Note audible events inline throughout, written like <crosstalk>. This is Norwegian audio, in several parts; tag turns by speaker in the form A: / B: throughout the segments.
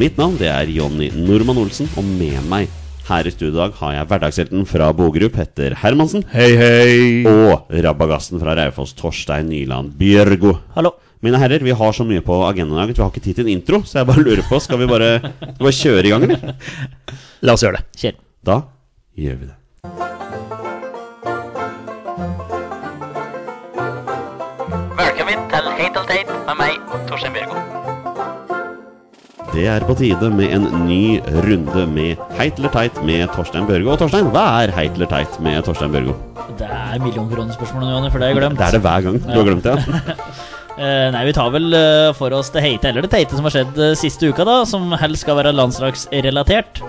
A: Mitt navn det er Jonny Normann Olsen, og med meg her i studio i dag har jeg hverdagshelten fra Bogerup, Petter Hermansen.
B: Hei, hei!
A: Og rabagassen fra Raufoss, Torstein Nyland Bjørgo. Hallo. Mine herrer, vi har så mye på agendaen i dag at vi har ikke tid til en intro, så jeg bare lurer på Skal vi bare, skal vi bare kjøre i gang, eller?
B: <laughs> La oss gjøre det.
A: Da gjør vi det.
C: Velkommen til Heit og Teit med meg, Torstein Bjørgo.
A: Det er på tide med en ny runde med Heit eller teit med Torstein Børgo. Og Torstein, hva er Heit eller teit med Torstein Børgo?
D: Det er millionkronespørsmålet, Jonny, for det har jeg glemt.
A: Det er det hver gang. Du har glemt det, ja?
D: Eh, nei, vi tar vel eh, for oss det heite eller det teite som har skjedd eh, siste uka, da. Som helst skal være landslagsrelatert.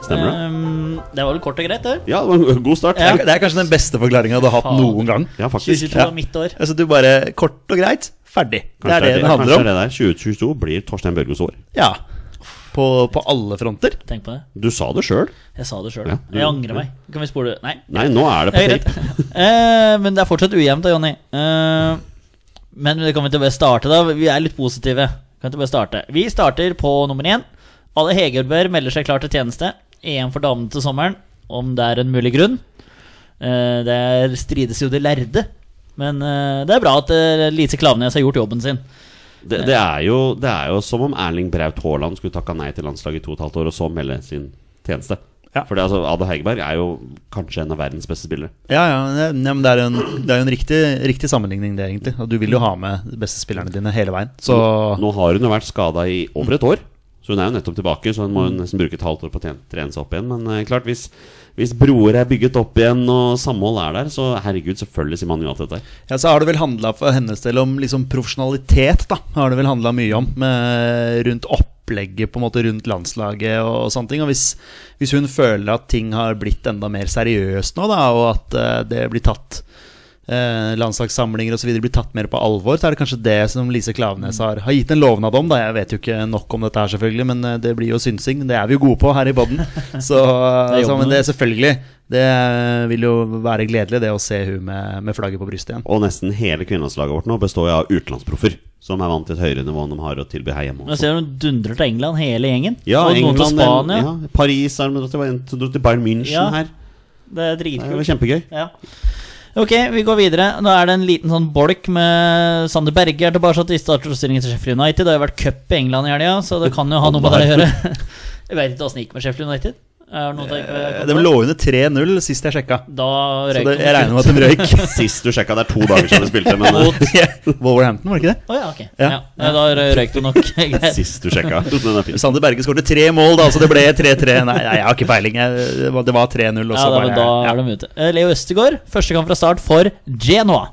A: Stemmer det?
D: Eh, det var vel kort og greit, det.
A: Ja, det var en god start.
D: Ja.
B: Det er kanskje den beste forklaringa du har hatt
D: Faen.
B: noen gang.
A: Ja, faktisk.
D: 2022
B: Ja.
D: var mitt år.
B: Altså, du bare kort og greit, ferdig. Det
A: Kanskje
B: er det det handler
A: kanskje
B: om.
A: det der. 2022 blir Torstein Børgos år.
B: Ja. På, på alle fronter.
D: Tenk på det.
A: Du sa det sjøl.
D: Jeg sa det sjøl.
A: Ja, du-
D: Jeg angrer meg. Kan vi spole Nei.
A: Nei, nå er det
D: Det
A: på
D: er
A: tape.
D: greit. Eh, men det er fortsatt ujevnt, da, Jonny. Eh, men vi kan vi ikke bare starte, da? Vi er litt positive. Kan vi ikke bare starte? Vi starter på nummer én. Alle Hegerbør melder seg klar til tjeneste. EM for damene til sommeren, om det er en mulig grunn. Eh, det er- strides jo de lærde. Men eh, det er bra at eh, Lise Klaveness har gjort jobben sin.
A: Det, det, er jo, det er jo som om Erling Braut Haaland skulle takka nei til landslaget i to og et halvt år, og så melde sin tjeneste.
B: Ja.
A: For det, altså, Ada Hegerberg er jo kanskje en av verdens beste spillere.
B: Ja, ja, ne- ne, men det er jo en, det er jo en riktig, riktig sammenligning, det, egentlig. Og du vil jo ha med de beste spillerne dine hele veien. Så
A: Nå har hun jo vært skada i over et år, så hun er jo nettopp tilbake. Så hun må jo nesten bruke et halvt år på å tjene- trene seg opp igjen. Men eh, klart, hvis, hvis broer er bygget opp igjen og samhold er der, så herregud, selvfølgelig sier man ja til dette. her.
B: Ja, så har det vel handla for hennes del om liksom profesjonalitet, da. Har det vel handla mye om med, rundt opplegget, på en måte rundt landslaget og, og sånne ting. Og hvis, hvis hun føler at ting har blitt enda mer seriøst nå, da, og at eh, det blir tatt eh, landslagssamlinger osv. blir tatt mer på alvor, så er det kanskje det som Lise Klaveness har, har gitt en lovnad om. Da. Jeg vet jo ikke nok om dette her, selvfølgelig, men eh, det blir jo synsing. Det er vi jo gode på her i
D: <laughs>
B: podden. Så,
D: Det er
B: så
D: jobben
B: men det selvfølgelig. Det vil jo være gledelig, det å se hun med, med flagget på brystet igjen.
A: Og nesten hele kvinnelandslaget vårt nå består jo av utenlandsproffer, som er vant til et høyere nivå enn de har å tilby her hjemme.
D: Men
A: også.
D: ser du, hun dundrer til England, hele gjengen.
A: Ja,
D: og
A: England,
D: noen til Spania.
A: ja, Paris har de dratt til, en dro til Bayern München
D: Ja.
A: her.
D: Det er
A: Det
D: dritkult.
A: er jo kjempegøy.
D: Ja. Ok, vi går videre. Nå er det en liten sånn bolk med Sander Berge er tilbake i startoppstillingen til Sheffield United. Det har jo vært cup i England i helga, så det kan jo ha noe med det å gjøre. <laughs> Jeg vet ikke åssen det gikk med Sheffield United. Er det noe
B: Eh,
D: tenker,
B: De lå under 3-0 sist jeg sjekka.
D: Da
B: Så
D: røyk
B: det, jeg regner med at de røyk.
D: <laughs>
A: Sist du sjekka, det er to dager siden du spilte, men eh,
B: <laughs> Wolverhampton, var det ikke det?
D: Å ja, ok.
B: Ja.
D: Ja. Ja, da rø- røyk
B: <laughs>
D: du nok. Greit.
A: eh, sist du
D: <laughs>
A: sjekka. Den er fin.
B: Sander Berge skåret tre mål, da, så det ble 3-3. Nei, nei, jeg har ikke peiling. Jeg, det var- det var 3-0. og
D: Ja,
B: så
D: da,
B: bare-
D: men da
B: ja.
D: er de ute. Eh, Leo Østegård, første kamp fra start for Genoa.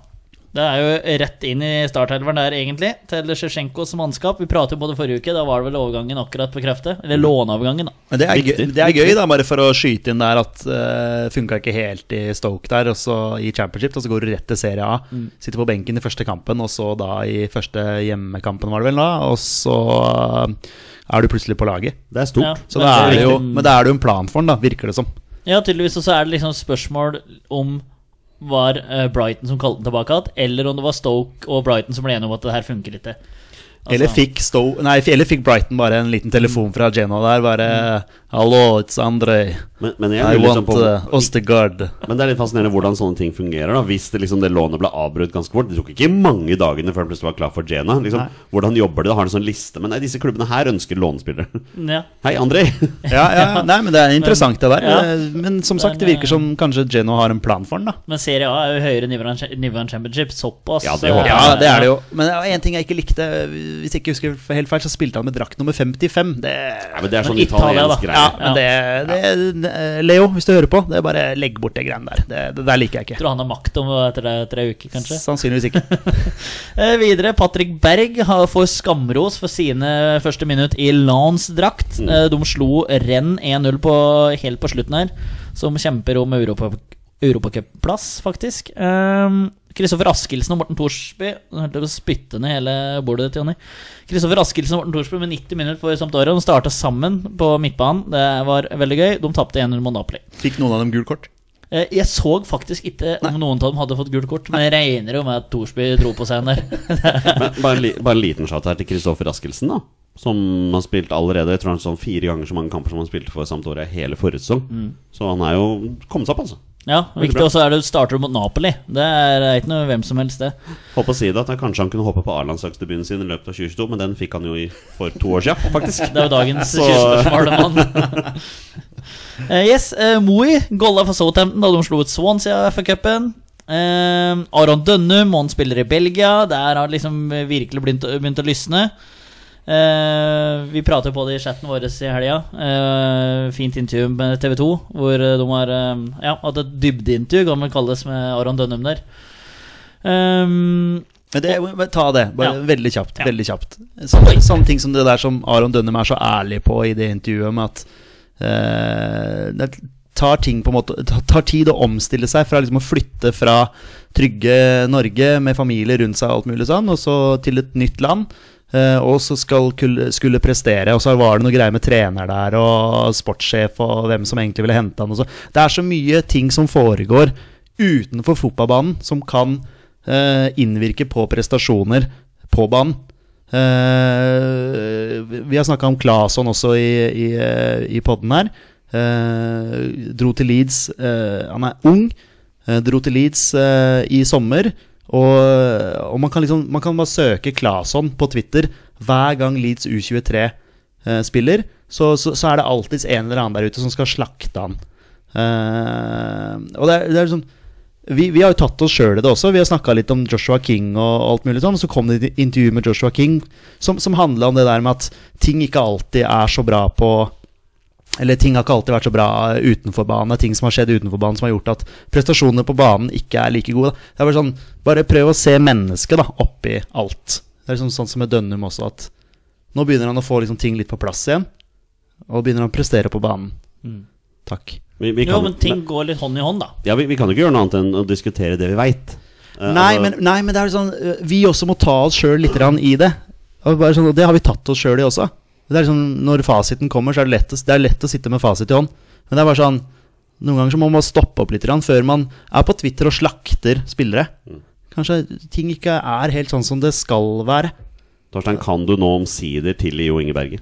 D: Det er jo rett inn i startelveren der, egentlig, til Sjetsjenkos mannskap. Vi pratet jo på det forrige uke, da var det vel overgangen akkurat på kreftet. Eller låneavgangen, da.
B: Men det er,
A: Viktig.
B: gøy, det er gøy, da, bare for å skyte inn der at uh, funka ikke helt i Stoke der, og så i Championship, og så går du rett til Serie A.
D: Mm.
B: Sitter på benken i første kampen, og så da i første hjemmekampen, var det vel da, og så eh, er du plutselig på laget.
A: Det er stort.
B: Så da er
D: det
B: det
D: er
B: jo,
D: riktig.
B: men da er det jo en plan for den, da, virker det som.
D: Ja, tydeligvis. Og så er det liksom spørsmål om var eh, Brighton som kalte den tilbake igjen, eller om det var Stoke og Brighton som ble enige om at det her funker ikke.
B: Eller fikk, Stow- nei, eller fikk Brighton bare en liten telefon fra Genoa der. Bare 'Hallo, it's Andrej.
A: Men, men, jeg
B: I
A: lurer liksom
B: want
A: på,
D: eh,
B: uh, Ostergaard'.
A: men det er litt fascinerende hvordan sånne ting fungerer. da Hvis det, liksom, det lånet ble avbrutt ganske fort Det tok ikke mange dagene før han plutselig var klar for Jena. Liksom. Hvordan jobber de? da? Har de en sånn liste? Men nei, disse klubbene her ønsker lånespillere. <laughs>
D: Ja.
A: Hei,
D: <laughs>
A: André!
B: <laughs> Ja, ja, ja. Nei, men det er interessant, det der. Eh,
D: Ja.
B: Men som sagt, det
D: Men,
B: virker som kanskje Genoa har en plan for den, da.
D: Men Serie A er jo høyere nivå enn nivå enn Championship. Såpass. eh,
A: Ja, det håper jeg.
B: Ja, det er det jo. Men det var en ting jeg ikke likte. Hvis jeg ikke husker helt feil, så spilte han med drakt nummer 55. Det,
A: Ja, men det er sånn
D: Men Italia, da.
A: italiensk greie.
B: ja, men det, det eh, Leo, hvis du hører på, det er bare legg bort det greiene der. Det, det der liker jeg ikke.
D: Tror han har makt om etter tre, tre uker, kanskje.
B: Sannsynligvis ikke. <laughs>
D: Eh, videre, Patrick Berg har, får skamros for sine første minutt i Lans drakt. Eh, de slo renn 1-0 på, helt på slutten her, som kjemper om Europa- europacupplass, faktisk. Eh, Kristoffer Askildsen og Morten Thorsby Nå hørte jeg å spytte ned hele bordet til Jonny. Kristoffer Askildsen og Morten Thorsby med 90 minutter for Sampdoria. De starta sammen på midtbanen. Det var veldig gøy. De tapte 1-0 mot Napoli.
B: Fikk noen av dem gult kort?
D: Eh, Jeg så faktisk ikke om noen av dem hadde fått gult kort, men jeg regner jo med at Thorsby dro på seg en der.
A: Men bare, en li- bare en liten shout her til Kristoffer Askelsen, da. Som har spilt allerede Jeg tror han sånn fire ganger så mange kamper som han spilte for Sampdoria hele forrige sesong.
D: Mm.
A: Så han er jo kommet seg opp, altså.
D: Ja,
A: Veldig
D: viktig
A: bra.
D: også er det starter du mot Napoli. Det er, det er ikke noe hvem som helst, det.
A: Håper å si det at jeg kanskje han kunne håpe på A-landslagsdebuten sin i løpet av 2022, men den fikk han jo i for to år siden,
D: <laughs>
A: faktisk.
D: Det er jo dagens
A: Så-
D: kystspørsmål. <laughs> yes, uh, Moi golla for Southampton da de slo ut Swansea i FA-cupen. Eh, Aron Dønnum, han spiller i Belgia. Der har det liksom virkelig begynt, å- begynt å lysne. Eh, vi prater på det i chatten vår i helga. Eh, fint intervju med TV 2, hvor eh, de har eh, ja, hatt et dybdeintervju, kan man kalles, med Aron Dønnum der. Eh,
B: Men det, men ta det, bare
D: Ja.
B: veldig kjapt.
D: Ja.
B: veldig kjapt Sånn sånne ting som det der som Aron Dønnum er så ærlig på i det intervjuet, med at eh, det tar, ting på en måte, ta- tar tid å omstille seg fra liksom å flytte fra trygge Norge med familie rundt seg og alt mulig sånn, og så til et nytt land. eh, og så skal kul- skulle prestere, og så var det noe greier med trener der og sportssjef og hvem som egentlig ville hente han og så. Det er så mye ting som foregår utenfor fotballbanen som kan eh, innvirke på prestasjoner på banen. Eh, vi har snakka om Claesson også i, i, eh, i podden her. Eh, dro til Leeds eh, Han er ung. eh, dro til Leeds eh, i sommer. Og, og man, kan liksom, man kan bare søke Claesson på Twitter hver gang Leeds U23 eh, spiller, så, så, så er det alltids en eller annen der ute som skal slakte han. Eh, og det er, det er liksom vi, vi har jo tatt oss sjøl i det også. Vi har snakka litt om Joshua King og alt mulig sånn. og Så kom det et intervju med Joshua King som, som handla om det der med at ting ikke alltid er så bra på Eller ting har ikke alltid vært så bra utenfor banen. Det er ting som har skjedd utenfor banen som har gjort at prestasjonene på banen ikke er like gode. Det er Bare sånn, bare prøv å se mennesket da, oppi alt. Det er liksom sånn som med Dønnum også, at nå begynner han å få liksom ting litt på plass igjen. Og begynner han å prestere på banen. Takk.
A: Vi, vi
D: jo,
A: kan,
D: men ting går litt hånd i hånd, da.
A: ja, vi, vi kan jo ikke gjøre noe annet enn å diskutere det vi veit. Eh, altså-
B: Nei, men, nei, men det er sånn øh, Vi også må ta oss sjøl litt grann i det. Og bare sånn, og det har vi tatt oss sjøl i også. Det er sånn, når fasiten kommer, så er det, lett å, det er lett å sitte med fasit i hånd. Men det er bare sånn Noen ganger så må man stoppe opp litt grann før man er på Twitter og slakter spillere. Kanskje ting ikke er helt sånn som det skal være.
A: Torstein, kan du nå omsider tilgi Jo Inge Berge?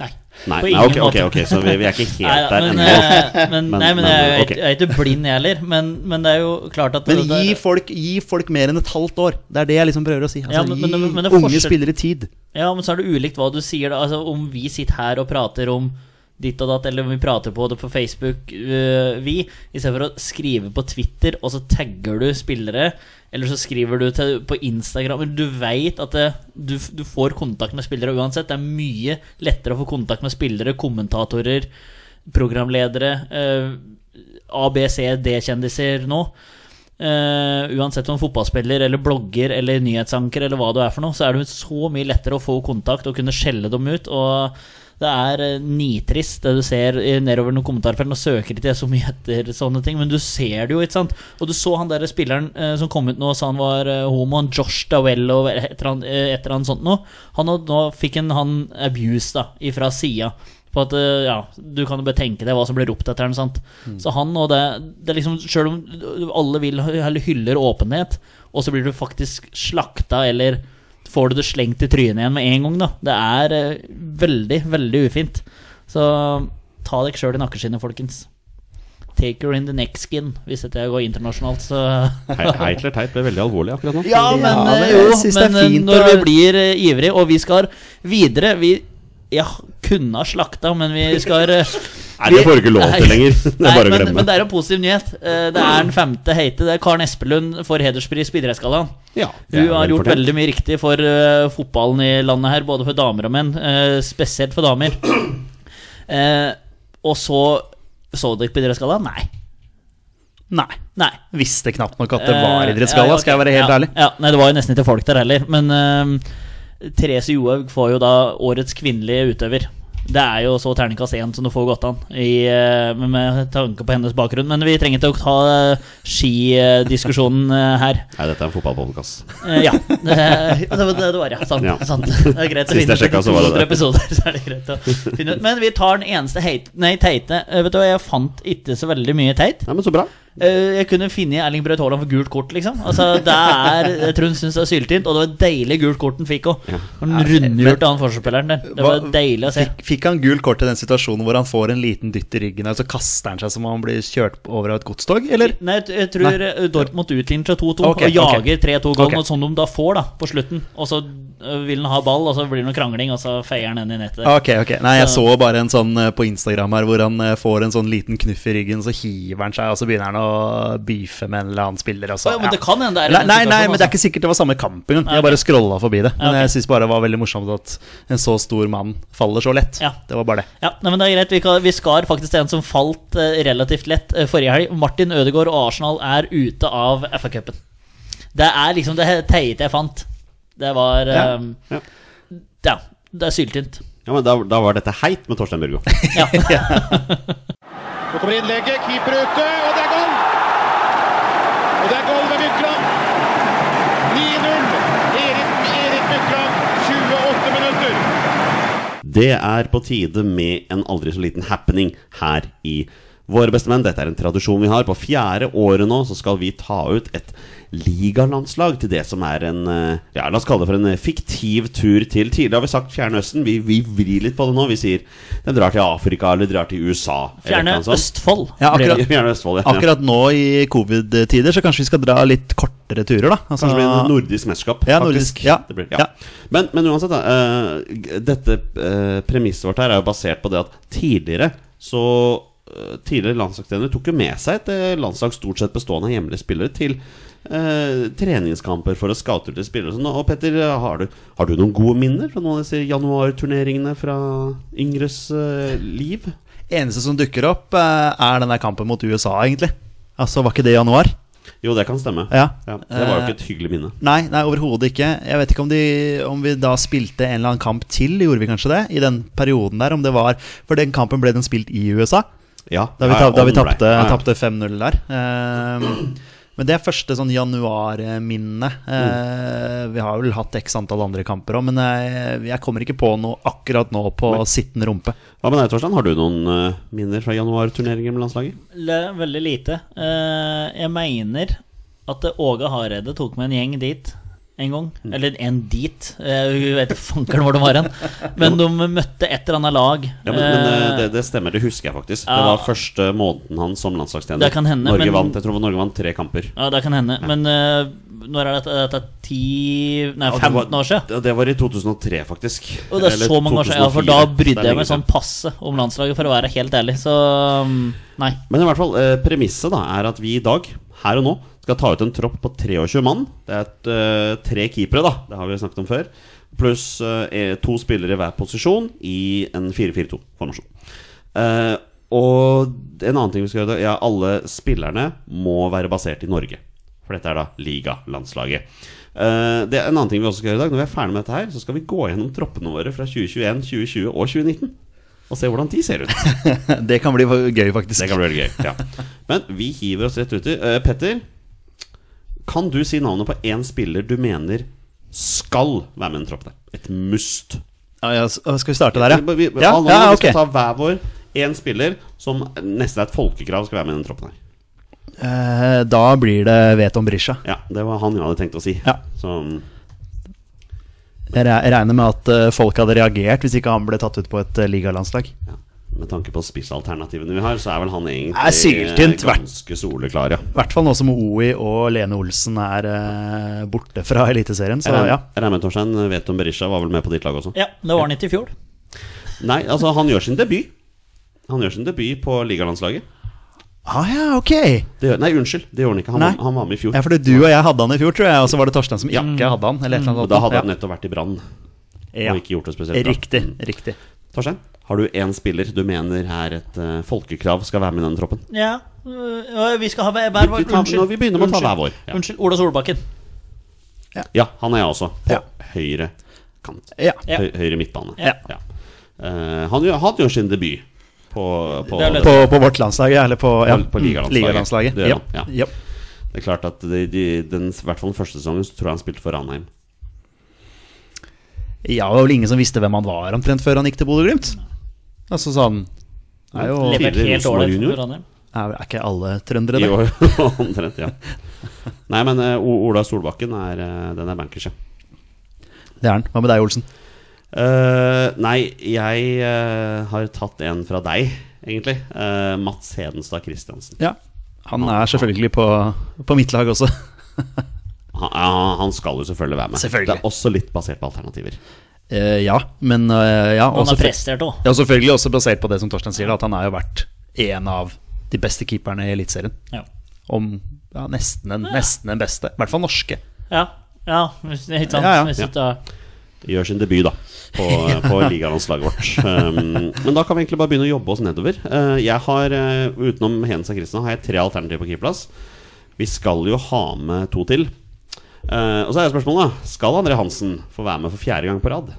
D: Nei.
A: Nei,
D: På
A: nei,
D: ingen
A: ok, ok,
D: måte.
A: ok, så vi, vi er ikke helt
D: <laughs> Nei,
A: der
D: men,
A: ennå.
D: eh, men,
A: <laughs> Men-
D: nei, men
A: men,
D: jeg, er jo-
A: ok.
D: jeg er ikke blind, jeg heller. Men, men det er jo klart at
B: Men
D: det- det-
B: gi folk, gi folk mer enn et halvt år. Det er det jeg liksom prøver å si. Altså,
D: Ja, men- men-
B: gi
D: men- men det er
B: unge
D: forskjell-
B: spillere tid.
D: Ja, men så er det ulikt hva du sier. Da. Altså, om vi sitter her og prater om ditt og datt, eller om vi prater på det på Facebook, øh, vi, istedenfor å skrive på Twitter, og så tagger du spillere, eller så skriver du til, på Instagram Men Du veit at det, du, f- du får kontakt med spillere uansett. Det er mye lettere å få kontakt med spillere, kommentatorer, programledere, øh, A, B, C, D-kjendiser nå. Eh, uansett om fotballspiller eller blogger eller nyhetsanker eller hva du er for noe, så er det jo så mye lettere å få kontakt og kunne skjelle dem ut. Og det er eh, nitrist det du ser i- nedover noen kommentarfelt. Nå søker ikke jeg så mye etter sånne ting, men du ser det jo, ikke sant. Og du så han der spilleren eh, som kom ut nå og sa han var eh, homo, han Josh Dawello eller et eller annet- eh, et eller annet sånt noe. Han hadde, nå fikk en, han abuse da, ifra sida. På at, eh, ja, Du kan jo betenke deg hva som blir ropt etter ham. sant? Så han og det, det er liksom, Selv om alle vil eller hyller åpenhet, og så blir du faktisk slakta eller får du det slengt i trynet igjen med en gang. da Det er eh, veldig, veldig ufint. Så ta dere sjøl i nakkeskinnet, folkens. Take her in the neck skin, hvis dette går internasjonalt, så
A: He- Heitler Teit ble veldig
D: <laughs>
A: alvorlig akkurat nå.
D: Ja, men
B: Ja, men
D: eh,
B: jeg
D: jo,
B: synes det er
D: men eh,
B: fint
D: når vi
B: å-
D: blir eh, ivrig, og vi skal videre Vi ja, kunne ha slakta, men vi skal eh,
A: Nei, det får du ikke lov til
D: Nei.
A: lenger. <laughs> Det
D: Nei,
A: er bare å
D: men, men
A: glemme.
D: det er en positiv nyhet. Eh, Det er den femte heite. Det er Karen Espelund for hederspris på Idrettsgallaen.
A: Ja, det er
D: Hun har gjort
A: velfortjent.
D: veldig mye riktig for eh, fotballen i landet her, både for damer og menn. eh, spesielt for damer. Eh, og så Så dere på Idrettsgallaen? Nei.
B: Nei.
D: Nei.
B: Visste knapt nok at det var
D: Eh,
B: idrettsgalla,
D: ja, ja,
B: skal jeg være helt
D: ja,
B: ærlig.
D: Ja, nei, Det var jo nesten ikke folk der heller. Men eh, Therese Johaug får jo da årets kvinnelige utøver. Det er jo så terningkast én som det får gått an, i, eh, med- med tanke på hennes bakgrunn. Men vi trenger ikke å ta eh, skidiskusjonen eh, her.
A: Nei, dette er en fotballpodkast.
D: Eh, ja. <laughs> Det, det, var det det var, ja. Sant.
A: Ja.
D: sant. Det er greit å
A: Sist
D: finne
A: jeg
D: ut
A: sjekket, så var det det.
D: etter 200 episoder. Så er det greit å finne ut. Men vi tar den eneste heit, nei, teite. Eh, Vet du hva, jeg fant ikke så veldig mye teit.
A: Nei, men så bra.
D: Eh, Jeg kunne funnet Erling Braut Haaland for gult kort, liksom. Altså, det er, Jeg tror hun syns det er syltynt, og det var deilig gult kort han fikk òg.
A: Ja.
D: Han
B: Ja, men-
D: rundlurte han forspilleren der. Det var
B: Hva-
D: deilig å se.
B: Fikk, fikk han gul kort i den situasjonen hvor han får en liten dytt i ryggen, og så kaster han seg som om han blir kjørt over av et godstog, eller?
D: Nei, jeg- jeg tror eh, Dortmund utligner til 2-2
B: Ok,
D: og jager
B: ok.
D: 3-2-gålen,
B: Ok.
D: og sånn de da får, da, på slutten. Og så eh, vil han ha ball, og så blir det noe krangling, og så feier han den i nettet.
B: Ok, ok. Nei, jeg så bare en sånn eh, på Instagram her hvor han eh, får en sånn liten knuff i ryggen, så hiver han seg, og så begynner han å beefe med en eller annen spiller. Og så,
D: Å, ja, men det kan hende det er en
B: Nei, nei, nei,
D: situasjon,
B: men det er
D: altså.
B: ikke sikkert det var samme kamp engang. Jeg
D: ok.
B: bare scrolla forbi det. Men
D: Ja, ok.
B: jeg syns bare det var veldig morsomt at en så stor mann faller så lett.
D: Ja.
B: Det var bare det.
D: Ja, nei, men det er greit. Vi, kan, vi skar faktisk til en som falt eh, relativt lett eh, forrige helg. Martin Ødegaard og Arsenal er ute av FA-cupen. Det er liksom det he- teite jeg fant. Det var
B: Ja,
D: ehm,
A: ja.
D: ja, det er syltynt.
A: Ja, men da, da var dette heit med Torstein Børgo.
D: Ja.
E: Nå kommer innlegget, keeper ute, og det er goal! Og det er goal ved Mykland. 9-0. Erik, Erik Mykland, 28 minutter.
A: Det er på tide med en aldri så liten happening her i Våre bestemenn. Dette er en tradisjon vi har. På fjerde året nå så skal vi ta ut et ligalandslag til det som er en eh, Ja, la oss kalle det for en eh, fiktiv tur til tidligere. Har vi sagt Fjernøsten? Vi, vi vrir litt på det nå. Vi sier de drar til Afrika, eller de drar til USA. eller
D: Fjerne
A: noe sånt.
D: Østfold.
B: Ja,
D: blir det.
A: <laughs>
B: akkurat.
A: Fjerne Østfold, ja.
B: Akkurat nå i covid-tider, så kanskje vi skal dra litt kortere turer, da. Altså-
A: Kanskje det blir en nordisk mesterskap,
B: Ja,
A: faktisk.
B: nordisk, ja.
A: Det blir,
B: Ja.
A: ja. Men, men uansett, da, eh, g- dette eh, premisset vårt her er jo basert på det at tidligere så eh, Tidligere landslagstrenere tok jo med seg et eh, landslag stort sett bestående av hjemlige spillere til eh, treningskamper for å scoute ut til spillere. og sånn. Og Petter, har du, har du noen gode minner fra noen av disse januarturneringene fra yngres eh, liv?
B: Eneste som dukker opp, eh, er den der kampen mot USA, egentlig. Altså, var ikke det i januar?
A: Jo, det kan stemme.
B: Ja. Eh,
A: det var jo ikke et hyggelig minne.
B: Nei, nei overhodet ikke. Jeg vet ikke om, de, om vi da spilte en eller annen kamp til, gjorde vi kanskje det? I den perioden der, om det var For den kampen ble den spilt i USA,
A: Ja,
B: da vi,
A: ja,
B: tap, da vi eh,
A: om det.
B: tapte
A: Ja, ja.
B: tapte 5-0 der. Ehm, men det er første sånn januarminne. Uh, vi har vel hatt x antall andre kamper òg, men eh, jeg, jeg kommer ikke på noe akkurat nå på sittende rumpe. <laughs>
A: Hva med deg, Torstein? Har du noen eh, minner fra januarturneringer med landslaget?
D: Le- Veldig lite. Eh, jeg mener at eh, Åge Hareide tok med en gjeng dit en gang.
A: Mm.
D: Eller en dit. Eh, Jeg vet ikke fankeren hvor de var hen. Men de møtte et eller annet lag.
A: Ja, men, men eh,
D: Eh,
A: det, det stemmer, det husker jeg faktisk. Det
D: Ja.
A: var første måneden hans som landslagstjener.
D: Det kan hende,
A: Norge
D: men-
A: vant, jeg tror Norge vant tre kamper.
D: Ja, det kan hende. Men eh, når er dette? Dette er ti Nei,
A: Ja, det
D: 15
A: var-
D: år siden.
A: Det, det var i 2003, faktisk.
D: Og det er
A: Eller
D: så mange år siden. Ja, for da
A: 2004. Det er
D: brydde jeg
A: lenge
D: meg sånn
A: siden.
D: passe om landslaget, for å være helt ærlig. Så mm, nei.
A: Men i hvert fall, eh, premisset da er at vi i dag, her og nå, skal ta ut en tropp på 23 mann. Det er et, eh, tre keepere, da. Det har vi jo snakket om før. Pluss eh, to spillere i hver posisjon i en 4-4-2-formasjon. Eh, og en annen ting vi skal gjøre, da, ja, alle spillerne må være basert i Norge. For dette er da ligalandslaget. Eh, det er en annen ting vi også skal gjøre i dag. Når vi er ferdig med dette her, så skal vi gå gjennom troppene våre fra 2021, 2020 og 2019. Og se hvordan de ser ut.
B: Det kan bli gøy, faktisk.
A: Det kan bli veldig gøy. Ja. Men vi hiver oss rett uti. Uh, Petter, kan du si navnet på én spiller du mener skal være med i en tropp der? Et must.
B: Ja, ja, s- skal vi starte der, ja?
A: Vi, vi,
B: Ja,
A: alle,
B: ja,
A: vi
B: ok.
A: skal ta hver vår én spiller som nesten er et folkekrav skal være med i den troppen her.
B: Eh, Da blir det Veton Brisja.
A: Ja, Det var han jeg hadde tenkt å si.
B: Ja.
A: Så,
B: Jeg re- jeg regner med at eh, folk hadde reagert hvis ikke han ble tatt ut på et eh, ligalandslag.
A: Ja. Med tanke på spissalternativene vi har, så er vel han
B: Er
A: egentlig eh,
B: syltynt, hvert-
A: ganske soleklar, ja.
B: I hvert fall nå som OI og Lene Olsen er eh, borte fra Eliteserien. Så
A: Jeg regner-
B: ja.
A: jeg regner med Torstein vet om eh, Berisha var vel med på ditt lag også?
D: Ja, det var han ikke i fjor.
A: Nei, altså, han gjør sin debut. Han gjør sin debut på ligalandslaget.
B: Ah, ja, ok!
A: Det gjør, nei, unnskyld, det gjorde han ikke. Han,
B: Nei.
A: var- han var med i fjor.
B: Ja, for det du og jeg hadde han i fjor, tror jeg. Og så var det Torstein som ikke hadde han. Eller et eller
A: og
B: annet
A: Mm. da hadde han
B: sånt.
A: nettopp vært i Brann
B: ja.
A: og ikke gjort det spesielt
B: Ja.
A: bra.
B: Riktig. riktig
A: Torstein, har du én spiller du mener er et eh, folkekrav skal være med i denne troppen?
D: Ja, øh, vi skal ha hver
A: Vi-
D: vår.
A: vi tar- når vi begynner med å ta hver vår, ja.
D: Unnskyld, Ola Solbakken.
A: Ja, han er jeg også. På
B: Ja.
A: høyre kant.
B: Ja.
D: Ja.
A: Høy, høyre midtbane.
D: Ja.
A: Eh, han, gjør, han gjør sin debut på, på
D: Det er
A: det,
D: løst.
B: På, på vårt landslag, ja. Eller på, ja.
A: På- på ligalandslaget.
B: ligalandslaget.
A: Det gjør
B: Ja.
A: han,
B: Ja.
A: er klart at de, de, den, i hvert fall den første sesongen så tror jeg han spilte for Ranheim.
B: ja, det var vel ingen som visste hvem han var omtrent før han gikk til Bodø-Glimt. Altså sånn er, jo,
A: Tidligere
D: Levert helt
A: Rosenborg
D: ålreit
A: junior.
D: for Ranheim.
B: er, er ikke alle trøndere
A: I
B: det?
A: år, <laughs> omtrent, ja. Nei, men eh, O- Ola Solbakken er, eh, den er bankers, ja.
B: Det er han. Hva med deg, Olsen?
A: Eh, nei, jeg eh, har tatt en fra deg, egentlig. Eh, Mats Hedenstad Christiansen.
B: Ja. Han er selvfølgelig på, på mitt lag også.
A: Han, ja, han skal jo selvfølgelig være med.
B: Selvfølgelig.
A: Det er også litt basert på alternativer.
B: Eh, ja, men eh, ja,
D: Han
B: også-
D: har prestert òg.
B: Ja, selvfølgelig også basert på det som Torstein sier, da, at han er jo vært en av de beste keeperne i Eliteserien.
D: Ja.
B: Om ja, nesten, den, nesten den beste. I hvert fall norske.
D: Ja, ja, hvis det er helt sant.
B: Ja, ja.
D: Hvis det er-
A: Gjør sin debut, da, på, eh, på ligalandslaget vårt. Um, men da kan vi egentlig bare begynne å jobbe oss nedover. Eh, jeg har, eh, Utenom Hedenstad Christian har jeg tre alternativer på keeperplass. Vi skal jo ha med to til. Eh, og så er jo spørsmålet, da. Skal André Hansen få være med for fjerde gang på rad?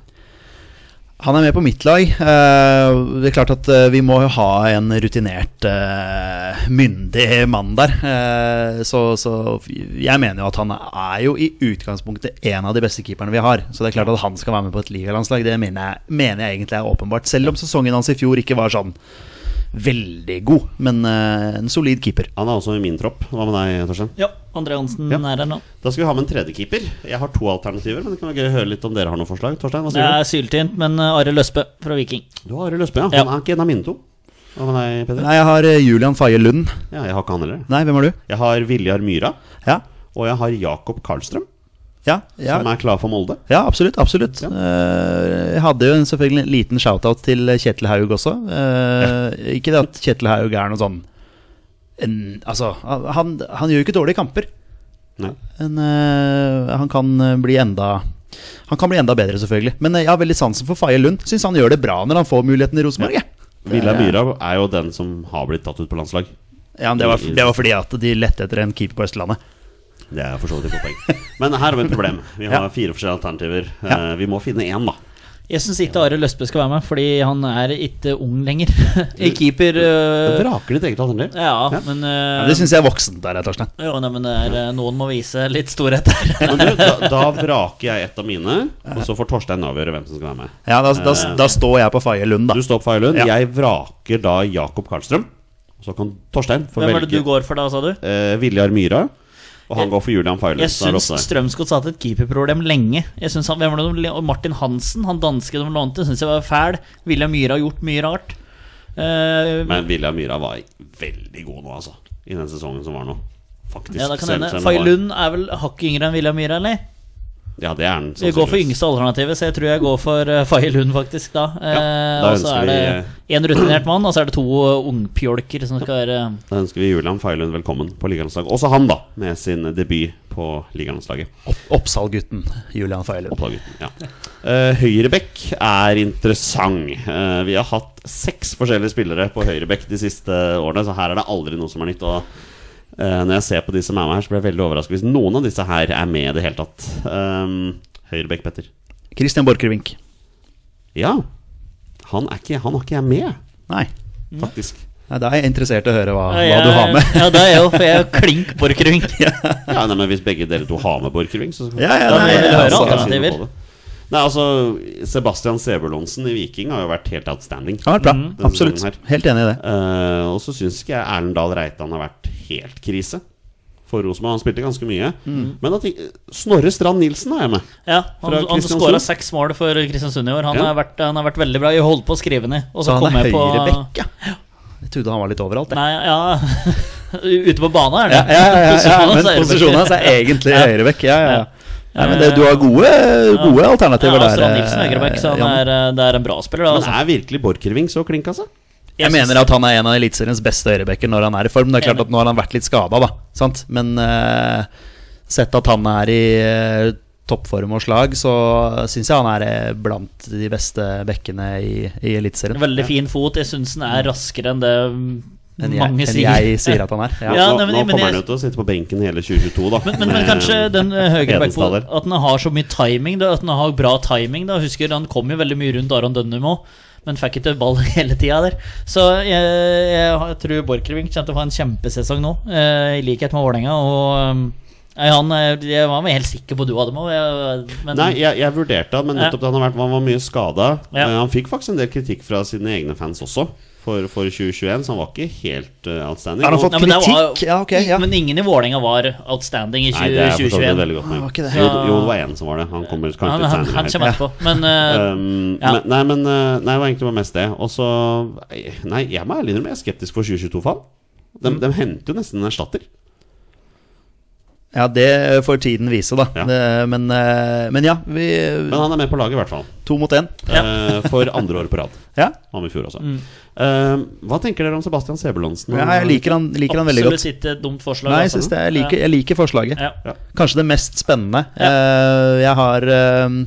B: Han er med på mitt lag. Eh, det er klart at eh, vi må jo ha en rutinert, eh, myndig mann der. Eh, så, så jeg mener jo at han er jo i utgangspunktet en av de beste keeperne vi har. Så det er klart at han skal være med på et ligalandslag. Det mener jeg, mener jeg egentlig er åpenbart. Selv om sesongen hans i fjor ikke var sånn veldig god, men eh, en solid keeper.
A: Han er også i min tropp. Hva med deg, Torstein?
D: Ja, André Johnsen
A: Ja.
D: er her nå.
A: Da skal vi ha med en tredje keeper. Jeg har to alternativer, men det kan være gøy å høre litt om dere har noen forslag. Torstein, hva
D: Det
A: sier
D: er syltynt, men eh, Are Løsbø fra Viking.
A: du? Du har Arild Østbø, ja.
D: Ja.
A: Han er ikke en av mine to. Hva med deg, Peder?
B: Nei, jeg har eh, Julian Faye Lund.
A: Ja, jeg har ikke han heller.
B: Nei, hvem har du?
A: Jeg har Viljar Myra,
B: Ja,
A: og jeg har Jakob Karlstrøm,
B: ja, ja.
A: som er klar for Molde.
B: ja absolutt. absolutt
A: Ja.
B: Eh, Jeg hadde jo en- selvfølgelig en liten shout-out til Kjetil Haug også. Eh, Ikke det at Kjetil Haug er noe sånn en, Altså, han, han gjør jo ikke dårlige kamper.
A: Nei.
B: Men eh, han kan eh, bli enda Han kan bli enda bedre, selvfølgelig. Men eh, jeg har veldig sansen for Faye Lund. Syns han gjør det bra når han får muligheten i Rosenborg. jeg.
A: Viljar Myra er jo den som har blitt tatt ut på landslag.
B: Ja, men det var, det var fordi at de lette etter en keeper på Østlandet.
A: Det er for så vidt et godt poeng. Men her har vi et problem. Vi har fire forskjellige alternativer. Eh, Vi må finne én, da.
D: Jeg syns ikke Are Løsbø skal være med, fordi han er ikke ung lenger. I keeper
A: Da
D: eh,
A: Vraker ditt eget alternativ.
D: Ja,
A: Ja.
D: men
B: Ja,
D: eh,
B: det syns jeg er voksent der, Torstein.
D: jo, nei, men det er, eh, noen må vise litt storhet
A: <laughs>
D: her.
A: Men du, da, da vraker jeg et av mine, og så får Torstein avgjøre hvem som skal være med.
B: Ja, da, da, da står jeg på Faye Lund, da.
A: Du står på Failund.
B: Ja.
A: Jeg vraker da Jakob Karlstrøm. Og så kan Torstein få
D: Hvem er det
A: velge
D: du går for da, sa du?
A: eh, Viljar Myhra. Og han
D: Jeg-
A: går for Julian Failund.
D: Jeg syns Strømsgodt har hatt et keeperproblem lenge. Jeg synes han, hvem var det, de- og Martin Hansen, han danske de lånte, syns jeg var fæl. William Myhre har gjort mye rart. Eh,
A: Men Viljar Myhra var veldig god nå, altså. I den sesongen som var nå. Faktisk.
D: ja, det kan
A: selv-
D: hende.
A: selv om
D: Fay
A: det var-
D: Lund er vel hakket yngre enn William Myhre, eller?
A: Ja, det er han.
D: Vi går for
A: sannsynligvis.
D: yngste alternativet, så jeg tror jeg går for eh, Fay Lund, faktisk, da. Eh,
A: da
D: og så
A: ønsker
D: er det én rutinert mann, og så er det to eh, ungpjolker som skal være
A: Da ønsker vi Julian Failund velkommen på ligalandslaget. Også han, da, med sin debut på ligalandslaget.
B: Opp- Oppsalgutten Julian Faye Lund.
A: Oppdagutten, ja. Eh, Høyrebekk er interessant. Eh, vi har hatt seks forskjellige spillere på høyrebekk de siste årene, så her er det aldri noe som er nytt. Og eh, når jeg ser på de som er med her, så blir jeg veldig overrasket hvis noen av disse her er med i det hele tatt. Um, høyrebekk, Petter.
B: Christian Borchgrevink.
A: Ja, han, er ikke, han har ikke jeg med,
B: Nei.
A: faktisk.
B: Nei, da er jeg interessert i å høre hva, hva
D: Ja,
B: du har med.
D: eh, ja, det er jeg jo, for jeg er klink Borchgrevink.
A: Ja, nei, men Hvis begge dere to har med Borchgrevink, så skal
B: Ja, ja,
A: Da
B: nei,
A: vil jeg
B: ja,
A: høre
B: altså.
A: alternativer. Nei, altså, Sebastian Sebulonsen i Viking har jo vært helt outstanding.
B: Ja, bra.
D: Mm.
B: Absolutt.
A: sesongen her.
B: Helt enig i det.
A: Eh, og så syns ikke jeg Erlend Dahl Reitan har vært helt krise. for Rosenborg. Han spilte ganske mye.
D: Mm.
A: Men at de, Snorre Strand Nilsen er jeg med.
D: Ja,
A: Fra
D: Han, han
A: Kristiansund?
D: skåra seks mål for Kristiansund i år. Han,
A: Ja.
D: har, vært, eh, han har vært veldig bra. Jeg holdt på å skrive ned. Og
B: Så
D: så,
B: han
D: kom
B: er
D: jeg på
B: høyrebekk, ja. Jeg trodde han var litt overalt. jeg.
D: Nei, ja <laughs> Ute på banen, er det?
B: Ja, ja, ja, ja, ja,
D: Posisjonen hans
B: men
D: er høyrebekk.
B: posisjonen hans er egentlig
D: Ja.
B: høyrebekk. Ja, ja,
D: Ja.
B: ja. Nei, men det, du har gode, gode alternativer
D: ja,
B: der.
D: Strand Nilsen er høyrebekk, så han
B: Jan.
D: er, eh, det er en bra spiller. Da,
A: Men
D: altså.
A: er virkelig Borchgrevink så klink, altså?
B: Jeg mener at han er en av eliteseriens beste høyrebekker når han er i form. Det er klart
D: Enig.
B: at Nå har han vært litt skada, da. Sant? Men eh, sett at han er i eh, toppform og slag, så syns jeg han er eh, blant de beste bekkene i, i Eliteserien.
D: Veldig fin fot. Jeg syns den er raskere enn det mm,
B: Enn jeg,
D: mange
B: enn
D: sier.
B: jeg sier at han er. Ja.
A: Ja,
D: Ja,
A: nå
D: nei, men-
A: nå
D: men
A: kommer
D: jeg-
A: han jo til å sitte på benken hele 2022, da.
D: Men, men, men
A: med
D: kanskje
B: <laughs>
D: den eh, høyre
A: Hedenstad
D: backfoot
A: der.
D: At den har så mye timing, da, at den har bra timing. Da. Husker Han kom jo veldig mye rundt Aron Dønnum òg, men fikk ikke ball <laughs> hele tida der. Så jeg, jeg har- tror Borchgrevink kommer til å ha en kjempesesong nå, eh, i likhet med Vålerenga. Og um, nei, han eh, Jeg var helt sikker på du hadde med, og jeg- eh, men
A: Nei, jeg, jeg vurderte han, men
D: Ja.
A: nettopp da han har vært Han var mye skada.
D: Ja.
A: Han fikk faktisk en del kritikk fra sine egne fans også, for, for 2021, så han var ikke helt eh, outstanding.
B: Har han
A: Og-
B: fått
D: Nei, men det var-
B: kritikk? Ja, ok. Ja.
D: Men ingen i Vålerenga var outstanding i
A: Nei, det er forstått et
D: 2021.
A: veldig godt
B: Ah, var
A: poeng.
B: ikke det.
A: Jo, jo, det var én som var det. Han kommer kanskje
D: Han,
A: litt
D: han,
A: senere.
D: han
A: helt.
D: kommer etterpå. Men
B: <laughs>
D: eh,
A: Um,
D: Ja.
A: men, nei, men eh, Nei, det var egentlig bare mest det. Og så Nei, jeg må ærlig innrømme jeg er skeptisk for 2022, faen. De, de henter jo nesten en erstatter.
B: Ja, det får tiden vise, da.
A: Ja.
B: Det, men, eh, men ja, vi
A: Men han er med på laget, i hvert fall.
B: To mot én.
A: Eh, for andre år på rad.
B: Ja.
A: Han var i fjor også. Eh, hva tenker dere om Sebastian Sebulonsen?
B: ja, jeg liker han, liker han veldig godt.
D: absolutt ikke et dumt forslag.
B: Nei, jeg,
D: altså.
B: synes det, jeg, liker, jeg liker forslaget.
D: Ja.
A: Ja.
B: Kanskje det mest spennende. Eh, jeg har eh,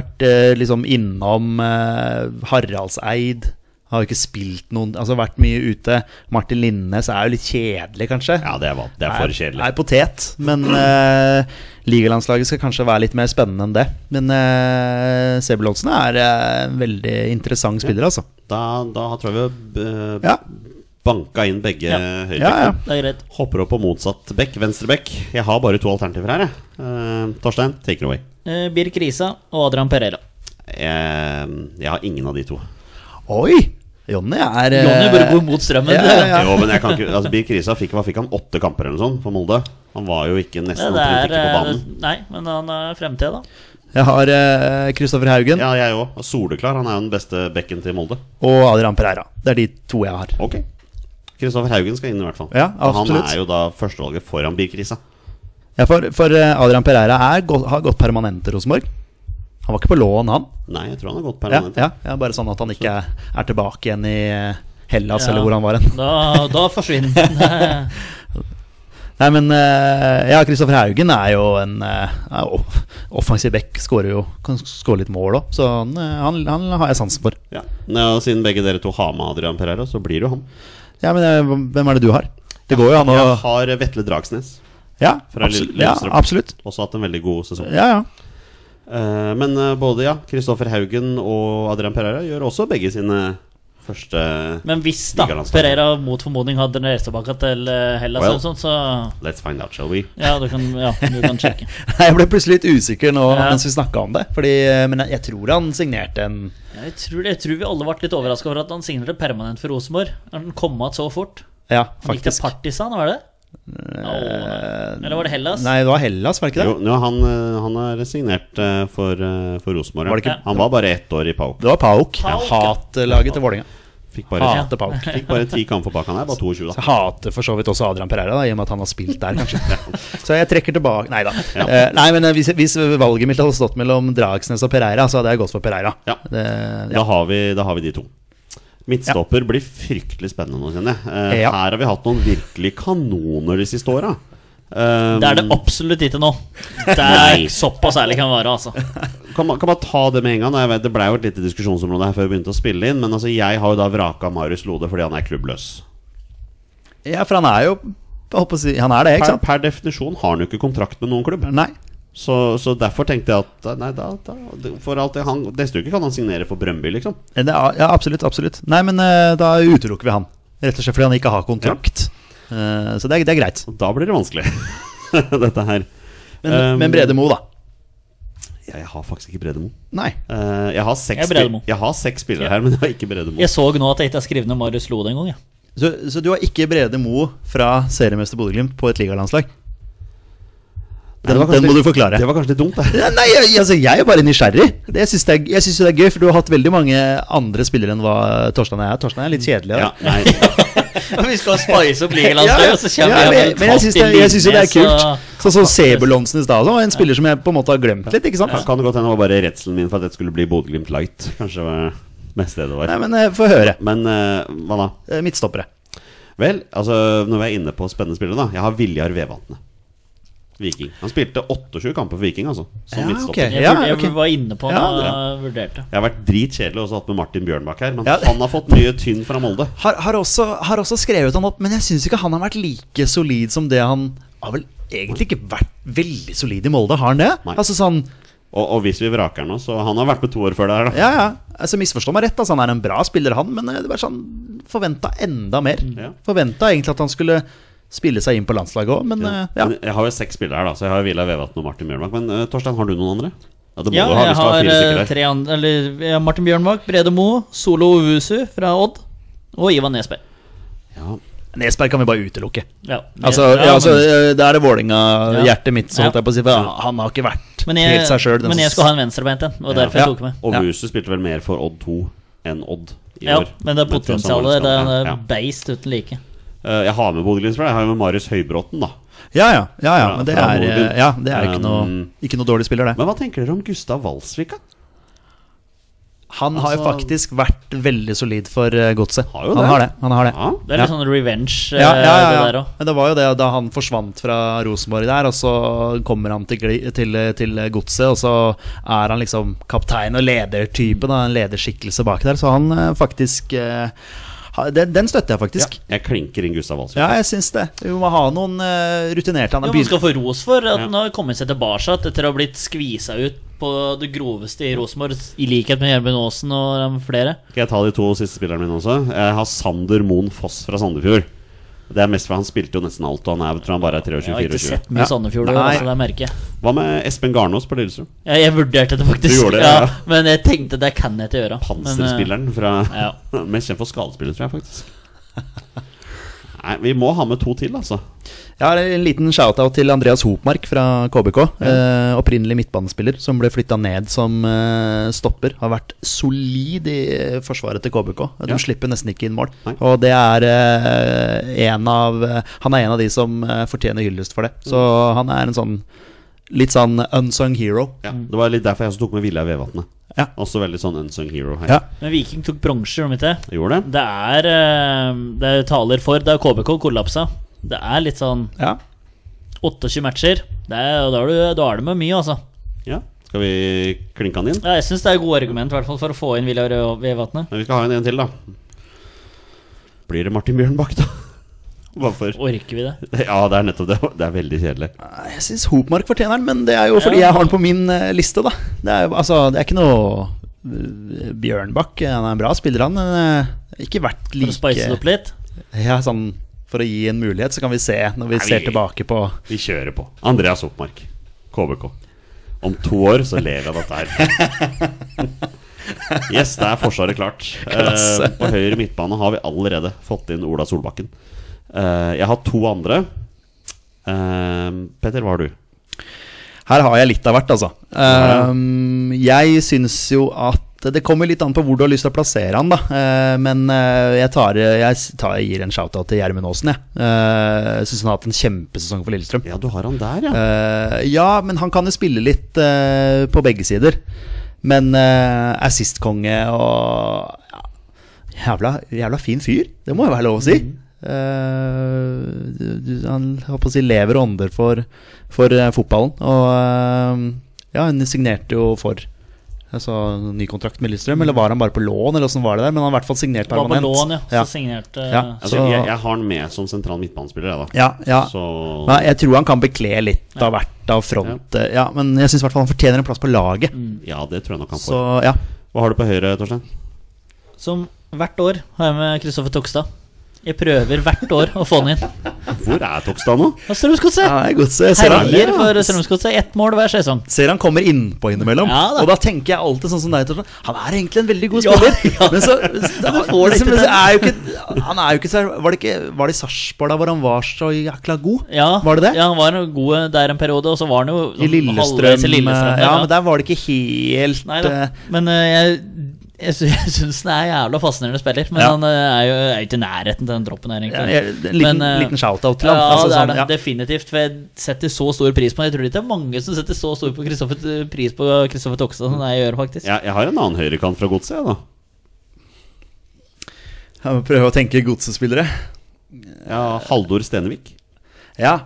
B: vært eh, liksom innom eh, Haraldseid. Har jo ikke spilt noen Altså vært mye ute. Martin Linnes er jo litt kjedelig, kanskje.
A: Ja, det er, va- det er for kjedelig.
B: Er potet, men eh, ligalandslaget skal kanskje være litt mer spennende enn det. Men uh, Sebulonsen er eh, en veldig interessant spiller, altså.
A: Da, da tror jeg vi har
B: Ja.
A: banka eh, inn begge ja.
B: Ja, ja.
D: Det er greit.
A: Hopper opp på motsatt bekk, venstre bekk. Jeg har bare to alternativer her, jeg. Eh, Torstein, take it away.
D: Eh, Birk Risa og Adrian Pereira.
A: Eh, jeg har ingen av de to.
B: Oi! Jonny er eh,
D: Jonny burde gå mot strømmen.
B: ja, ja, ja.
A: Jo, men jeg kan ikke altså, Birk Risa fikk, hva fikk han åtte kamper eller noe sånt for Molde. Han var jo ikke
D: Det,
A: nesten
D: det
A: omtrent
D: er,
A: ikke på
D: eh,
A: banen.
D: nei, men han er fremtid, da.
B: Jeg har Kristoffer Haugen
A: Ja, jeg òg. Soleklar. Han er jo den beste bekken til Molde.
B: og Adrian Pereira. Det er de to jeg har.
A: Ok. Kristoffer Haugen skal inn, i hvert fall.
B: Ja,
A: Og han
B: absolutt.
A: er jo da førstevalget foran Birk Risa.
B: Ja, for, for eh, Adrian Pereira er, gå- har gått permanent til Rosenborg. Han var ikke på lån, han.
A: Nei, jeg tror han har gått
B: Ja,
A: permanent.
B: ja, ja, bare sånn at han ikke er, er tilbake igjen i eh, Hellas,
D: Ja.
B: eller hvor han var hen.
D: Da, da forsvinner den.
A: <laughs>
D: Det-
B: Nei, men eh, ja, Kristoffer Haugen er jo en eh, er jo <laughs> offensiv back. Skårer jo kan skåre litt mål òg, så han, eh, han, han har jeg sansen for.
A: Ja. Nå, siden begge dere to har med Adrian Pereira, så blir det jo han.
B: Ja, men eh, Hvem er det du har? Det går jo an å
A: Jeg har Vetle Dragsnes.
B: Ja,
A: fra
B: absolutt.
A: Lille-
B: Ja,
A: Lillestrøm.
B: absolutt.
A: Også hatt en veldig god sesong.
B: Ja, ja.
A: Eh, men eh, både ja, Kristoffer Haugen og Adrian Pereira gjør også begge sine første
D: Men hvis da
A: Ligalandslaget.
D: Pereira mot formodning hadde reist tilbake til eh, Hellas,
A: Well.
D: eller sånt, så
A: Let's find out, shall we?
D: ja du, kan, ja, du
B: <laughs>
A: <laughs>
D: kan sjekke.
B: Nei, Jeg ble plutselig litt usikker nå
D: Ja.
B: mens vi snakka om det. Fordi, eh, men jeg, jeg tror han signerte en
D: Jeg tror, jeg tror vi alle ble litt overraska over at han signerte permanent for Rosenborg. At Han kom igjen så fort.
B: Ja,
D: Han gikk til
B: faktisk.
D: Partisan, var det?
B: Eh,
D: Eller var det Hellas?
B: Nei, det var Hellas, var det ikke det?
A: Jo, nå, han, eh, han er signert eh, for, eh, for Rosenborg. ja.
B: Var det ikke-
A: Han var bare ett år i Pauk.
B: Det var Pauk.
D: Pauk,
B: Jeg hater laget til Vålerenga.
A: Fikk bare,
B: Hater Pauk.
A: fikk bare ti kamper bak. Han er bare 22,
B: Ah. Så
A: da.
B: jeg hater for så vidt også Adrian Pereira, da, i og med at han har spilt der, <laughs> kanskje. Så jeg trekker tilbake Nei da. Eh, nei, men eh, hvis, hvis valget mitt hadde stått mellom Dragsnes og Pereira, så hadde jeg gått for Pereira.
A: Ja.
B: Det, ja.
A: Da har vi, da har vi de to. Midtstopper blir fryktelig spennende nå, kjenner jeg. Eh,
B: Ja.
A: Her har vi hatt noen virkelig kanoner de siste åra. Ehm,
D: Det er
B: Mm.
D: det absolutt ikke nå. Det
A: Nei.
D: er såpass ærlig kan være, altså.
A: kan, man, kan man ta det med en gang? da? Jeg vet, det ble jo et lite diskusjonsområde her før vi begynte å spille inn, men altså, jeg har jo da vraka Marius Lode fordi han er klubbløs.
B: ja, for han er jo jeg håper å si, Han er det,
A: Per,
B: ikke sant?
A: per definisjon har han jo ikke kontrakt med noen klubb.
B: Nei.
A: Så, så derfor tenkte jeg at Nei, da, da for alt det, han, Neste uke kan han signere for Brøndby, liksom.
B: Det er, ja, absolutt. Absolutt. Nei, men eh, da utelukker vi han. Rett og slett fordi han ikke har kontrakt. Eh, så det er, det er greit.
A: Og da blir det vanskelig, <laughs> dette her.
B: Men,
A: Um,
B: men Brede Moe, da.
A: Jeg har faktisk ikke Bredemo.
B: Nei.
A: Eh, jeg, har seks
D: Jeg er
A: spil-
D: Bredemo.
A: jeg har seks spillere her, men jeg har ikke Bredemo.
D: Jeg så nå at jeg ikke har skrevet ned Marius Lode engang. Ja.
B: Så, så du har ikke Brede Moe fra seriemester Bodø-Glimt på et ligalandslag?
A: Nei, det
B: Den,
A: var kanskje
B: den må du
A: litt-
B: forklare.
A: Det var kanskje litt dumt, det.
B: Ja, Nei, jeg, altså, jeg er bare nysgjerrig. Det, jeg syns det, er- jeg syns jo det er gøy, for du har hatt veldig mange andre spillere enn hva Torstein er. Torstein er litt kjedelig. da.
A: <laughs> Ja, altså, nei,
D: Vi skal spice opp
B: Ja, ja.
D: ligalandslaget, og så kommer
B: altså. Ja,
D: vi
B: men, men jeg syns det, jeg syns jo det er kult.
A: altså.
B: Sånn som Sebulonsen i stad. også, var En spiller som jeg på en måte har glemt litt. ikke sant?
A: kan det godt hende det var bare redselen min for at dette skulle bli Bodø-Glimt light. Kanskje det var mest det det var.
B: Nei, men eh, Få høre.
A: Men eh, hva da?
B: Eh, Midtstoppere.
A: Vel, altså når vi er inne på spennende spillere, da. Jeg har Viljar Vevatnet. Viking. Han spilte 28 kamper for Viking, altså. Som
B: Ja,
A: midtstopper.
B: ok.
D: Jeg,
B: Ja,
D: vurder-
B: ok.
D: jeg var inne på den
B: Ja,
D: og
A: det
D: vurderte.
A: Jeg har vært dritkjedelig og så hatt med Martin Bjørnbakk her, men
B: Ja.
A: han har fått mye tynn fra Molde.
B: Har, har, også, har også skrevet han opp, men jeg syns ikke han har vært like solid som det han Har vel egentlig ikke vært veldig solid i Molde, har han det?
A: Nei.
B: Altså sånn,
A: Og, og hvis vi vraker nå, så Han har vært med to år før det her, da.
B: ja, ja. Altså Misforstå meg rett, altså, han er en bra spiller, han, men eh, det var sånn forventa enda mer.
A: Ja.
B: Forventa egentlig at han skulle spille seg inn på landslaget òg, men eh, ja.
A: Men Jeg har jo seks spillere her, da, så jeg har Viljar Vevatn og Martin Bjørnbakk. Men eh, Torstein, har du noen andre? Ja, det må
D: Ja,
A: du ha
D: jeg
A: hvis du har
D: har
A: fire
D: eh,
A: stykker her.
D: tre andre Eller ja, Martin Bjørnbakk, Brede Moe, Solo Owusu fra Odd og Ivan Nesberg.
A: Ja.
B: Nesberg kan vi bare utelukke.
D: Ja,
B: Altså,
D: ja,
B: ja, altså,
D: men-
B: eh, Da er det
D: Ja.
B: Vålinga-hjertet mitt, så
D: Ja.
B: holdt jeg på å si. For han- han har ikke vært
D: men jeg,
B: helt seg sjøl.
D: men jeg skulle ha en venstrebeint en, og
A: Ja.
D: derfor jeg
B: Ja.
D: tok med.
A: Og
B: Ja.
A: Wuse spilte vel mer for Odd 2 enn Odd i
D: Ja,
A: år.
D: men det er
A: tross han var
D: potensialet. Det
A: skadet.
D: er
A: Ja.
D: beist uten like.
A: Eh, Jeg har med Bodø-Glimt-spillere. Jeg har jo med Marius Høybråten, da.
B: Ja, ja. ja, ja. Men det
A: fra
B: er, eh,
A: Nordby.
B: ja, det er ikke, noe,
A: Um,
B: ikke noe dårlig spiller, det.
A: Men hva tenker dere om Gustav Walsvik, da?
B: Han har jo
A: altså-
B: faktisk vært veldig solid for eh, godset.
A: Har jo
B: Han
A: det.
B: har det. Han har det.
A: Ja.
D: Det er litt sånn revenge, eh,
B: Ja, ja, ja,
D: det der
B: ja.
D: òg.
B: Men det var jo det da han forsvant fra Rosenborg der, og så kommer han til, gli- til, til godset, og så er han liksom kaptein og ledertype, da, en lederskikkelse bak der. Så han eh, faktisk eh, ha- den, den støtter jeg
A: Ja,
B: faktisk.
A: jeg klinker inn Gustav Walsvik.
B: Ja, jeg syns det. Vi må ha noen eh, rutinerte. Han
D: Ja,
B: er
D: man
B: begynt
D: skal få ros for at
A: Ja.
D: han har kommet seg tilbake igjen etter å ha blitt skvisa ut på det groveste i Rosenborg, i likhet med Gjermund Aasen og um, flere.
A: Skal jeg ta de to siste spillerne mine også? Jeg har Sander Moen Foss fra Sandefjord. Det er mest for han spilte jo nesten alt, og han er, tror han bare er
D: Jeg har
A: 23-24.
D: ikke sett mye
B: Ja.
D: Sandefjord i år,
B: Nei.
D: altså, det merker jeg.
A: Hva med Espen Garnås på Lillestrøm?
D: Jeg, jeg vurderte det faktisk,
A: Du gjorde det,
D: ja.
A: ja.
D: men jeg tenkte det kan jeg ikke gjøre. Men, eh,
A: Panserspilleren fra
D: Ja.
A: <laughs> Mest kjent for skadespiller, tror jeg faktisk. Nei, vi må ha med to til, altså.
B: Jeg har en liten shout-out til Andreas Hopmark fra KBK. Eh, opprinnelig midtbanespiller som ble flytta ned som eh, stopper. Har vært solid i eh, forsvaret til KBK. De
A: Ja.
B: slipper nesten ikke inn mål.
A: Nei.
B: Og det er eh, en av eh, Han er en av de som eh, fortjener hyllest for det. Så
A: Mm.
B: han er en sånn litt sånn unsung hero.
A: Ja.
D: Mm.
A: Det var litt derfor jeg også tok med Vilja Vevatnet.
B: Ja.
A: Også veldig sånn unsung hero her.
B: Ja.
D: eh, men Viking tok bronse, gjorde de ikke det?
A: Jeg Gjorde det?
D: Det er eh, Det taler for Da KBK kollapsa. Det er litt sånn
B: Ja.
D: 28 matcher. Det er, da, er du, da er det med mye, altså.
A: Ja. Skal vi klinke han inn?
D: Ja, jeg syns det er gode argument i hvert fall for å få inn Viljar Vevatnet.
A: Men vi skal ha en, en til, da. Blir det Martin Bjørnbakk, da? <laughs> Hva for?
D: Orker vi det?
A: Ja, det er nettopp det. Det er veldig kjedelig.
B: Jeg syns Hopmark fortjener den, men det er jo fordi jeg har den på min eh, liste, da. Det er, jo- altså, det er ikke noe eh, Bjørnbakk, han er en bra spiller, han. Men eh, ikke vært
D: For å spice det
B: like
D: opp litt?
B: ja, sånn, For å gi en mulighet, så kan vi se når vi
A: Nei,
B: ser
A: vi-
B: tilbake på
A: Vi kjører på. Andreas Oppmark, KBK. Om to år så ler jeg av dette her. Yes, da er Forsvaret klart.
B: Klasse.
A: Eh, på høyre midtbane har vi allerede fått inn Ola Solbakken. Eh, jeg har to andre. Eh, Petter, hva har du?
B: Her har jeg litt av hvert, altså. Ehm, jeg syns jo at det kommer litt an på hvor du har lyst til å plassere han, da. Eh, men eh, jeg, tar, jeg s- tar, jeg gir en shout-out til Gjermund Aasen, jeg. Uh, syns han har hatt en kjempesesong for Lillestrøm.
A: Ja, du har han der, ja.
B: Eh, ja, men han kan jo spille litt eh, på begge sider. Men uh, assist-konge og ja, jævla, jævla fin fyr. Det må jo være lov å
D: Mm.
B: si. Eh, du- du- han holdt på å si lever og ånder for, for eh, fotballen. Og eh, ja, hun signerte jo for altså, ny kontrakt med Lillestrøm. Eller var han bare på lån, eller åssen var det der? Men han har i hvert fall signert
D: Det var på
B: permanent.
D: lån, ja. Så
B: Ja.
D: signerte
B: Ja.
A: altså,
B: så-
A: jeg, jeg har han med som sentral midtbanespiller, jeg, da.
B: Ja, ja.
A: Så
B: Nei, jeg tror han kan bekle litt av hvert av front. eh, Ja. men jeg syns i hvert fall han fortjener en plass på laget.
D: Mm.
A: ja, det tror jeg nok han
B: Så
A: får.
B: ja.
A: Hva har du på høyre, Torstein?
D: Som hvert år har jeg med Kristoffer Tokstad. Jeg prøver hvert år å få han inn.
A: Hvor er Tokstad nå?
D: Og Strømsgodset
B: Ja, det er godt se. Jeg ser han,
D: herjer for Strømsgodset. Ett mål hver sesong.
B: ser han kommer innpå innimellom.
D: Ja, da.
B: og da tenker jeg alltid sånn som deg. Torstein, Han er egentlig en veldig god
D: Ja,
B: spiller.
D: ja.
B: Men så,
D: <laughs> Du får det ikke
B: men så
D: til.
B: er jo ikke Han er jo ikke så Var det, ikke, var det i Sarpsborg da hvor han var så jækla god?
D: Ja,
B: Var det det?
D: Ja, han var jo god der en periode, og så var han
B: I
D: jo sånn halvveis
B: Lillestrøm.
D: i Lillestrøm
B: eh,
D: der,
B: Ja, men der var det ikke helt
D: Nei da.
B: eh,
D: Men eh, jeg, jeg, sy- <laughs> jeg syns den er jævla fascinerende spiller. Men
B: Ja.
D: han eh, er jo er ikke i nærheten til den droppen her,
B: ja,
D: egentlig.
B: jeg- En liten,
D: Men, eh,
B: liten shout-out til
D: Ja,
B: ham. altså,
D: det er
B: sånn,
D: det.
B: ja.
D: Definitivt. For jeg setter så stor pris på han. Jeg tror ikke det er mange som setter så stor på Kristoffer, pris på Kristoffer Tokstad som jeg gjør, faktisk.
A: Jeg, jeg har en annen høyrekant fra godset, jeg, da.
B: Jeg må prøve å tenke godsespillere.
A: Ja, Haldor Stenevik.
B: Ja,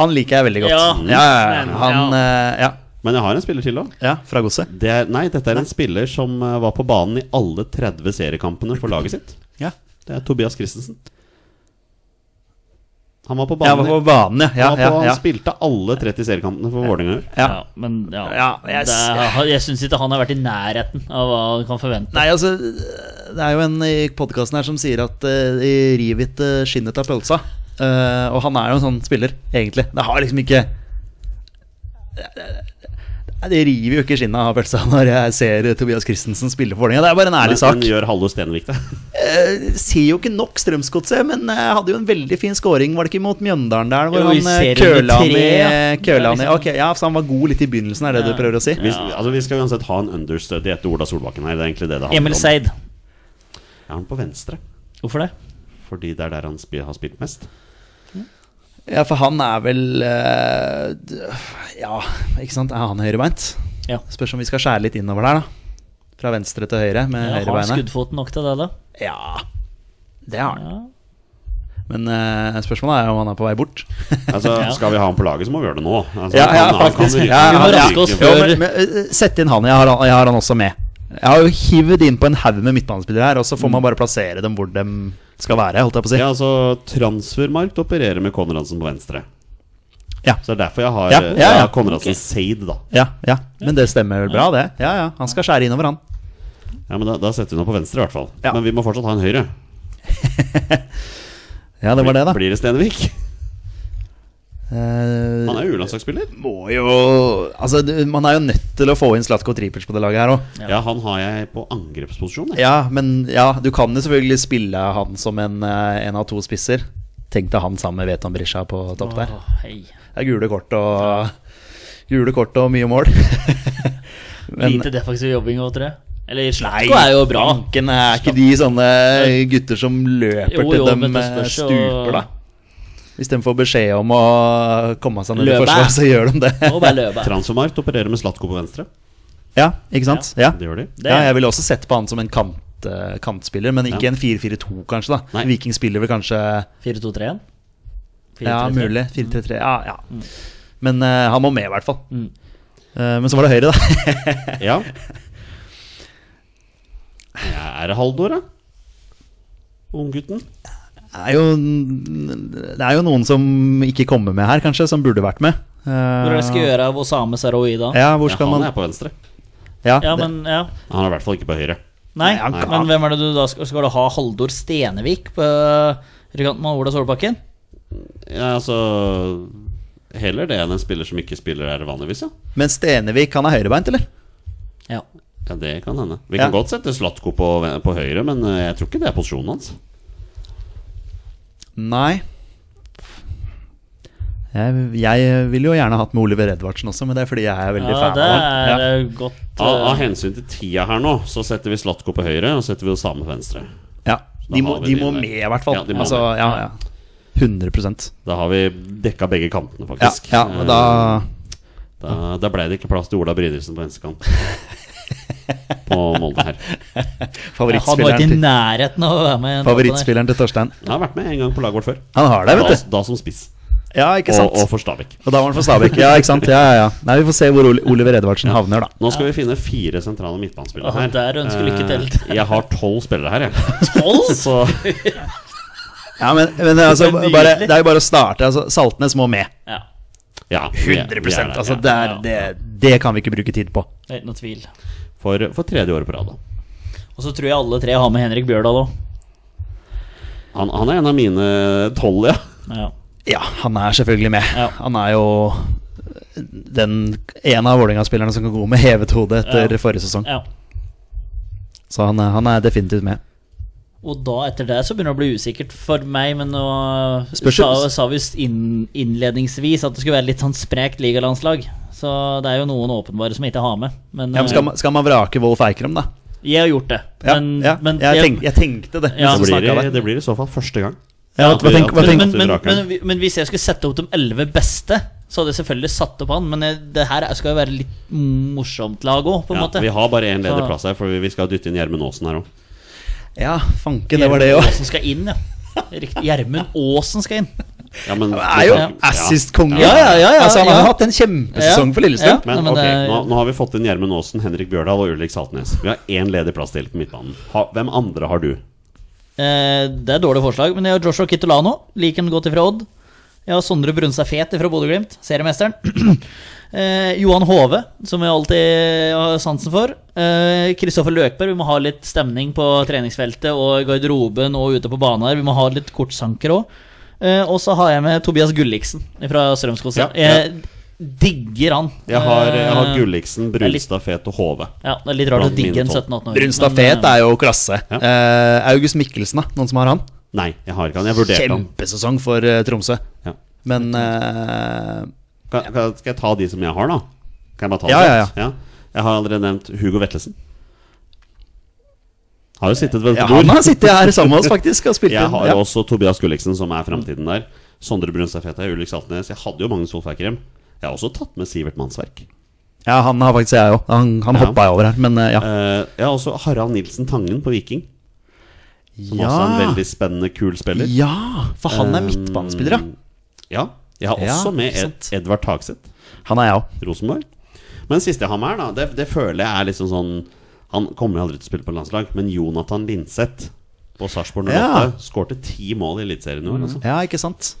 B: han liker jeg veldig godt.
D: Ja,
B: ja, ja,
D: men,
B: ja. Han, eh, ja.
A: Men jeg har en spiller til, da.
B: ja fra godset.
A: Det er, nei, dette er en spiller som eh, var på banen i alle 30 seriekampene for laget sitt.
B: Ja.
A: Det er Tobias Christensen. Han var på
B: Jeg var
A: banen. i-
B: på banen, ja.
A: han, var
B: ja,
A: på,
B: ja,
A: han
B: ja.
A: spilte alle 30 seriekampene for Vålerenga i år.
B: ja.
D: men ja,
B: Ja, jeg
D: det
B: s-
D: er, jeg syns ikke han har vært i nærheten av hva han kan forvente.
B: Nei, altså Det er jo en i podkasten her som sier at uh, riv ikke skinnet av pølsa. Eh, og han er jo en sånn spiller, egentlig. Det har liksom ikke Nei, Det river jo ikke skinnet av pølsa når jeg ser Tobias Christensen spille for Vålerenga. Det er bare en ærlig
A: Men,
B: sak.
A: men gjør Haldor Stenevik
B: <laughs>
A: det?
B: Eh, sier jo ikke nok Strømsgodset, men eh, hadde jo en veldig fin scoring, var det ikke mot Mjøndalen der? Hvor
D: Jo, i
B: han eh,
D: serien
B: køla
D: i
B: han i
D: tre, ja.
B: køla han i-
D: Ja, liksom.
B: Ok, ja, så han var god litt i begynnelsen, er det
D: Ja.
B: du prøver å si?
A: Vi, altså, vi skal uansett ha en understudy etter Ola Solbakken her. Det er egentlig det det handler om.
D: Emil Seid.
A: Jeg har han på venstre,
D: Hvorfor det?
A: fordi det er der han spi- har spilt mest.
B: Ja, for han er vel eh, d- Ja, ikke sant? Er han høyrebeint?
D: Ja.
B: Spørs om vi skal skjære litt innover der, da. Fra venstre til Eh, høyre med
D: Ja, har han
B: høyrebeinet.
D: skuddfoten nok til det, da?
B: Ja, det har han.
D: Ja.
B: Men eh, spørsmålet er om han er på vei bort.
A: Altså,
D: Ja.
A: Skal vi ha han på laget, så må vi gjøre det nå. Altså,
B: <laughs> Ja, ja,
A: han- han kan
B: faktisk.
A: ryke-
B: Ja,
D: Vi må
A: han
D: raske
A: ryker
D: oss
A: jo.
D: før.
B: men, men, eh, sett inn han. Jeg har, han- jeg har han også med. Jeg har jo hivd innpå en haug med midtbanespillere her, og så får
D: Mm.
B: man bare plassere dem hvor de skal være, holdt jeg på å si.
A: Ja, altså Transfermarkt opererer med Konradsen på venstre.
B: Ja.
A: Så det er derfor jeg har
B: Ja,
A: eh,
B: ja, ja.
A: jeg har Konradsen Seid, da.
B: Ja, ja. Men det stemmer vel bra, det. Ja, ja. Han skal skjære innover, han. <laughs>
A: Ja, men Da, da setter vi ham på venstre, i hvert fall.
B: Ja.
A: Men vi må fortsatt ha en høyre.
B: Ja, det var det, da.
A: Blir det Stenevik?
B: <laughs> Eh,
A: Han er jo U-landslagsspiller.
B: må jo Altså, du- man er jo nødt til å få inn Slatko Tripic på det laget her òg.
A: Ja. han har jeg på angrepsposisjon. jeg.
B: Ja, men ja, du kan jo selvfølgelig spille han som en, eh, en av to spisser. Tenk deg han sammen med Veton Brisja på topp der.
D: Å, hei.
B: Det er gule kort og Gule kort og mye mål. Men
D: Lite defensiv jobbing òg, tror jeg. Eller Slatko er jo bra.
B: banken er ikke de sånne gutter som løper
D: Jo, jo,
B: til
D: men
B: de
D: det
B: eh,
D: spørs jo-
B: stuper, da. Hvis de får beskjed om å komme seg ned i
D: Løpe.
B: forsvar, så gjør de
D: <laughs>
B: det.
D: Må bare løpe.
A: Transfermarkt opererer med Slatko på venstre.
B: <laughs> Ja, ikke sant? Ja.
A: Det
B: <laughs>
A: gjør de.
D: Det-
B: ja, jeg ville også sett på han som en kant, eh, kantspiller, men ikke en 4-4-2, kanskje. da
A: Nei.
B: Viking spiller vel kanskje
D: 4-2-3-1? 4-3-3.
B: Ja, mulig. 4-3-3. Ja, ja. Men eh, han må med, i hvert fall.
D: Mm.
B: Eh, men så var det høyre, da. <laughs>
A: Ja. ja er det Haldor, da? Unggutten?
B: Det er, jo, det er jo noen som ikke kommer med her, kanskje, som burde vært med. Eh,
D: Hvor er det skal gjøre av Osame Saroui da?
B: Ja, hvor
A: Ja,
B: skal
A: han
B: man
A: er på venstre.
B: ja,
D: Ja,
B: det-
D: men ja.
A: Han er i hvert fall ikke på høyre.
D: Nei,
B: Nei, han kan-
D: men hvem er det du da skal Skal du ha Haldor Stenevik på ryggen med Ola Solbakken?
A: Ja, altså Heller det enn en spiller som ikke spiller her vanligvis, ja.
B: Men Stenevik, han er høyrebeint, eller?
D: Ja.
A: Ja, Det kan hende. Vi kan
B: Ja.
A: godt sette Slatko på, på høyre, men eh, jeg tror ikke det er posisjonen hans.
B: Nei. Jeg, jeg ville jo gjerne hatt med Oliver Edvardsen også, men det er fordi jeg er veldig
D: ja,
B: fan
D: det
B: av han. Ja.
D: er eh, godt
A: Av,
D: eh,
A: av hensyn til tida her nå, så setter vi Slatko på høyre, og setter vi Osame på venstre.
B: Ja,
A: Da
B: de må,
A: har vi
B: de
A: de
B: må
A: der.
B: med, i hvert fall.
A: Ja, de må
B: altså,
A: med.
B: ja, ja. 100
A: Da har vi dekka begge kantene,
B: Ja,
A: faktisk.
B: ja men da
A: Eh, da, da ble det ikke plass til Ola Brydresen på venstrekant.
B: <laughs>
A: på Molde her.
D: Han var ikke i
B: Favorittspilleren til,
D: nærheten av å være med. i en åpner.
B: favorittspilleren til Torstein.
A: Han har vært med en gang på laget vårt før.
B: Han har det,
A: Da,
B: vet du.
A: da som spiss.
B: Ja, ikke
A: Og,
B: sant.
A: og for Stabæk.
B: Og da var han for Stabæk. Ja, ikke sant. Ja, ja, ja. Nei, vi får se hvor Oli- Oliver Edvardsen havner, da.
A: Nå skal vi finne fire sentrale midtbanespillere
D: Ja,
A: her.
D: der ønsker vi lykke til.
A: Eh, Jeg har tolv spillere her, jeg.
D: Tolv?
B: <laughs>
A: Så
B: Ja, men, men altså,
D: Det er nydelig.
B: bare, det er jo bare å starte. Altså, Saltnes må med.
D: Ja,
B: <laughs>
A: ja, vi- vi er
B: 100
A: der,
B: altså,
A: ja.
B: det, er, det, det kan vi ikke bruke tid på.
D: det er ikke noe tvil.
A: for, for tredje året på rad. da.
D: Og så tror jeg alle tre har med Henrik Bjørdal òg.
A: Han, han er en av mine tolv, ja.
D: Ja.
B: Ja, han er selvfølgelig med.
D: Ja.
B: Han er jo den en av Vålerenga-spillerne som kan gå med hevet hode etter
D: Ja.
B: forrige sesong.
D: ja.
B: Så han er, han er definitivt med.
D: Og da etter det så begynner det å bli usikkert for meg, men nå
B: Spørs-
D: sa, sa vi inn, innledningsvis at det skulle være litt sånn sprekt ligalandslag. Så det er jo noen åpenbare som jeg ikke har med. Men,
B: Ja, men skal,
D: eh,
B: man, skal man vrake Wolf Eikrem, da?
D: jeg har gjort det.
B: Ja,
D: men,
B: ja.
D: men
B: jeg,
D: det-
B: tenk, jeg tenkte det. mens
D: Ja.
A: Det
B: du
A: blir,
B: snakket
A: i-
B: der.
A: det blir i så fall første gang.
B: Ja, hva tenk- hva tenk-
D: men, men,
A: Vraken.
D: men, men, men hvis jeg skulle sette opp de elleve beste, så hadde jeg selvfølgelig satt opp han. Men jeg, det her skal jo være litt morsomt lag òg, på en
A: Ja,
D: måte.
A: vi har bare én ledig
D: Så-
A: plass her, for vi- vi skal dytte inn Gjermund Aasen her òg.
B: Ja, fanken, det var det òg.
D: Som skal inn, ja. Riktig. Gjermund Aasen skal inn.
A: Ja, men
B: Er jo
A: Ja.
B: assist-konge.
D: Ja, ja, ja, ja,
B: altså, han har
D: ja.
B: hatt en kjempesesong
D: Ja.
B: for Lillestrøm.
D: Ja.
A: Men,
D: Nei, men
A: ok,
D: det-
A: nå, nå har vi fått inn Gjermund Aasen, Henrik Bjørdal og Ulrik Saltnes. Vi har én ledig plass til på midtbanen. Ha, hvem andre har du?
D: Eh, det er dårlig forslag, men jeg har Joshua Kitolano. Liker han godt ifra Odd. Jeg har Sondre Brunstad Fet fra Bodø-Glimt, seriemesteren. <clears throat> eh, Johan Hove, som jeg alltid har sansen for. Eh, Kristoffer Løkberg. Vi må ha litt stemning på treningsfeltet og i garderoben og ute på banen her. Vi må ha litt kortsanker òg. Eh, og så har jeg med Tobias Gulliksen fra
A: Ja,
D: Strømsgodset.
A: ja.
D: Jeg digger han.
A: Jeg har, jeg har
D: Eh,
A: Gulliksen,
D: er litt-
A: Brunstad, Fet og Hove.
D: Ja, det er litt rart å
A: Blant
D: digge en
A: mine topp.
D: 17-18-åring.
B: Brunstad
D: men, eh,
B: Fet er jo klasse.
A: Ja.
B: Eh, August Mikkelsen, da. Noen som har han?
A: Nei, jeg har ikke han. Jeg vurderte han.
B: Kjempesesong for eh, Tromsø.
A: Ja.
B: Men eh,
A: Kan, kan, skal jeg ta de som jeg har, da? Kan jeg bare ta
B: Ja,
A: det?
B: ja,
A: ja. Jeg har allerede nevnt Hugo Vetlesen. Har jo sittet ved et
B: ja,
A: bord.
B: han har sittet her sammen med oss, faktisk, og spilt
A: Jeg har
B: ja.
A: også Tobias Gulliksen, som er framtiden der. Sondre Brunstad Feta, Ulrik Saltnes. Jeg hadde jo Magnus Wolfækrem. Jeg har også tatt med Sivert Mannsverk.
B: ja, han har faktisk jeg òg. Han, han
A: Ja.
B: hoppa jeg over her, men eh, ja.
A: Eh, jeg har også Harald Nilsen Tangen på Viking. Som også er en veldig Mm. spennende, kul spiller.
B: ja, for han er midtbanespiller, ja.
A: Ja. Jeg har
B: Ja,
A: også med
B: ikke
A: Ed
B: sant.
A: Edvard Tagseth,
B: Han er jeg òg.
A: Rosenborg. Men siste jeg har med her, da, det, det føler jeg er liksom sånn Han kommer jo aldri til å spille på landslag, men Jonathan Linseth på Sarpsborg 08
B: Ja. Mm,
A: skårte ti mål i Eliteserien i år. Altså.
B: Ja, ikke sant?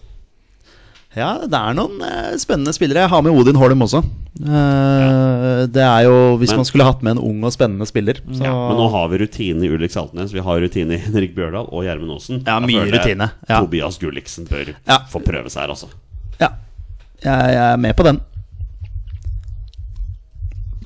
B: Ja, det er noen eh, spennende spillere. Jeg har med Odin Holm også. Eh, Det er jo Hvis
A: Men-
B: man skulle hatt med en ung og spennende spiller, så
A: Ja, men nå har vi rutine i Ulrik Saltnes, vi har rutine i Henrik Bjørdal og Gjermund Aasen.
B: Ja,
A: Da
B: mye
A: føler jeg
B: rutine, ja.
A: Tobias Gulliksen bør
B: Ja.
A: få prøve seg her, altså.
B: ja. Jeg, jeg er med på den.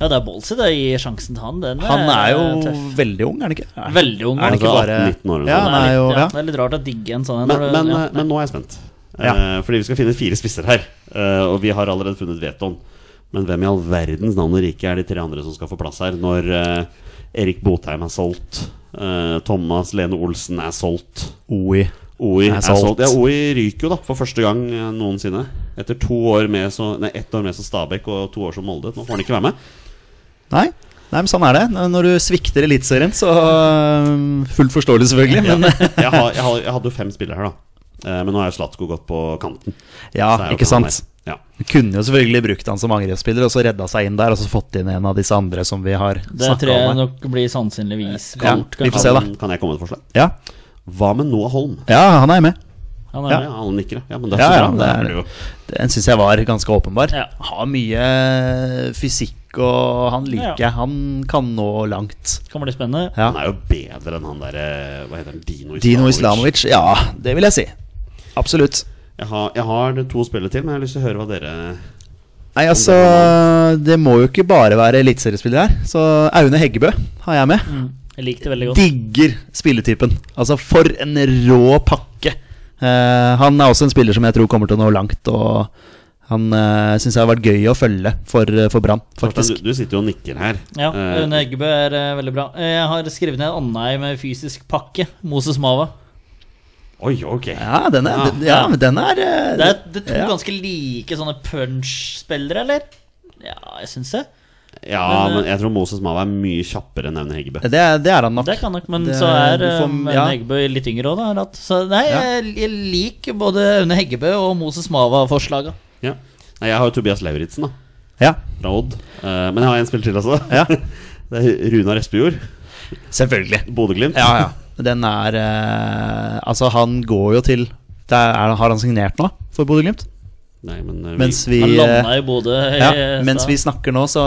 D: Ja, det er Bolsey det gir sjansen til han. Den
B: Han er jo
D: tøff.
B: veldig ung, er han ikke?
D: Veldig ung.
B: Er det ikke
A: Altså,
B: bare
A: 18-19 år eller
B: Ja,
A: noe sånt.
B: han er jo
D: ja.
B: ja.
D: Det er litt rart å digge en sånn en.
A: Men,
D: når du-
A: men,
B: eh,
A: eh,
D: ja,
A: men nå er jeg spent.
B: Ja.
A: Eh, fordi vi skal finne fire spisser her. Eh, og vi har allerede funnet Veton. Men hvem i all verdens navn og rike er de tre andre som skal få plass her, når eh, Erik Botheim er solgt, eh, Thomas Lene Olsen er solgt,
B: Oi.
A: OI er,
B: Er
A: solgt.
B: solgt.
A: Ja, OI ryker jo, da, for første gang eh, noensinne. Etter to år med så, nei, ett år med som Stabæk og to år som Molde. Nå får han ikke være med.
B: Nei. Nei, men sånn er det. Når- Når du svikter Eliteserien, så øh, Fullt forståelig, selvfølgelig, men
A: Jeg, har, jeg, har, jeg hadde jo fem spillere her, da. Eh, men nå er jo Slatko gått på kanten.
B: <laughs> Ja,
A: Så er jo
B: Ah, ikke
A: han
B: sant.
A: der. Ja.
B: Du kunne jo selvfølgelig brukt han som angrepsspiller og så redda seg inn der, og så fått inn en av disse andre som vi har
D: det tror
B: snakka
D: jeg
B: om. her.
D: nok blir sannsynligvis
B: Ja,
D: gult.
B: vi får
D: kanskje.
B: se, da.
A: Kan, kan jeg komme med et forslag?
B: Ja.
A: Hva med Noah Holm?
B: ja, han er med.
D: Han er
A: Ja,
D: med.
A: alle nikker, ja. ja. Men det er
B: Ja,
A: så
B: ja,
A: bra.
B: det
A: det
B: er
A: er det jo.
B: Den syns jeg var ganske åpenbar.
D: Ja.
B: Har mye eh, fysikk, og han liker
D: Ja.
B: jeg. Han kan nå langt.
D: Kan bli spennende.
B: Ja.
A: Han er jo bedre enn han derre Hva heter han? Dino Islamovic.
B: Dino Islamovic, ja, det vil jeg si. Absolutt.
A: Jeg har, jeg har to spillere til, men jeg har lyst til å høre hva dere
B: Nei, altså, det må jo ikke bare være eliteseriespiller her. Så Aune Heggebø har jeg med.
D: Mm. Jeg likte det veldig godt.
B: Digger spilletypen. Altså, for en rå pakke. Eh, han er også en spiller som jeg tror kommer til å nå langt, og han uh, syns jeg har vært gøy å følge for, eh, for Brann,
A: Torstein,
B: faktisk.
A: du, du sitter jo og nikker her.
D: Ja,
A: Eh,
D: Aune Eggebø er eh, veldig bra. Eh, Jeg har skrevet ned Andheim med fysisk pakke. Moses Mava.
A: Oi, ok.
B: Ja, den er,
A: Ja.
B: den, ja, men den er, eh,
D: Det er, det er to
B: ja.
D: ganske like sånne punch-spillere, eller? Ja, jeg syns det.
A: Ja,
D: men, eh,
A: men jeg tror Moses Mava er mye kjappere enn Aune Heggebø.
B: det, er, det er han nok.
D: Det kan nok, men
B: Det-
D: så er
B: du får-
D: um,
B: ja.
D: Aune Heggebø litt yngre òg, da. har hatt. Så nei,
B: Ja.
D: jeg, jeg liker både Aune Heggebø og Moses Mava-forslaga.
A: Ja. Nei, jeg har jo Tobias Lauritzen, da.
B: Ja,
A: Fra Odd. Eh, men jeg har en spiller til, altså.
B: Ja.
A: <laughs> det er Runar Espejord.
B: selvfølgelig.
A: Bodø-Glimt.
B: Ja, ja. Den er eh, Altså, han går jo til det er, Har han signert nå for Bodø-Glimt?
A: Nei, men eh, vi-
B: Mens vi
D: Han
B: eh,
D: landa i Bodø. i
B: ja,
D: stad.
B: eh, mens vi snakker nå, så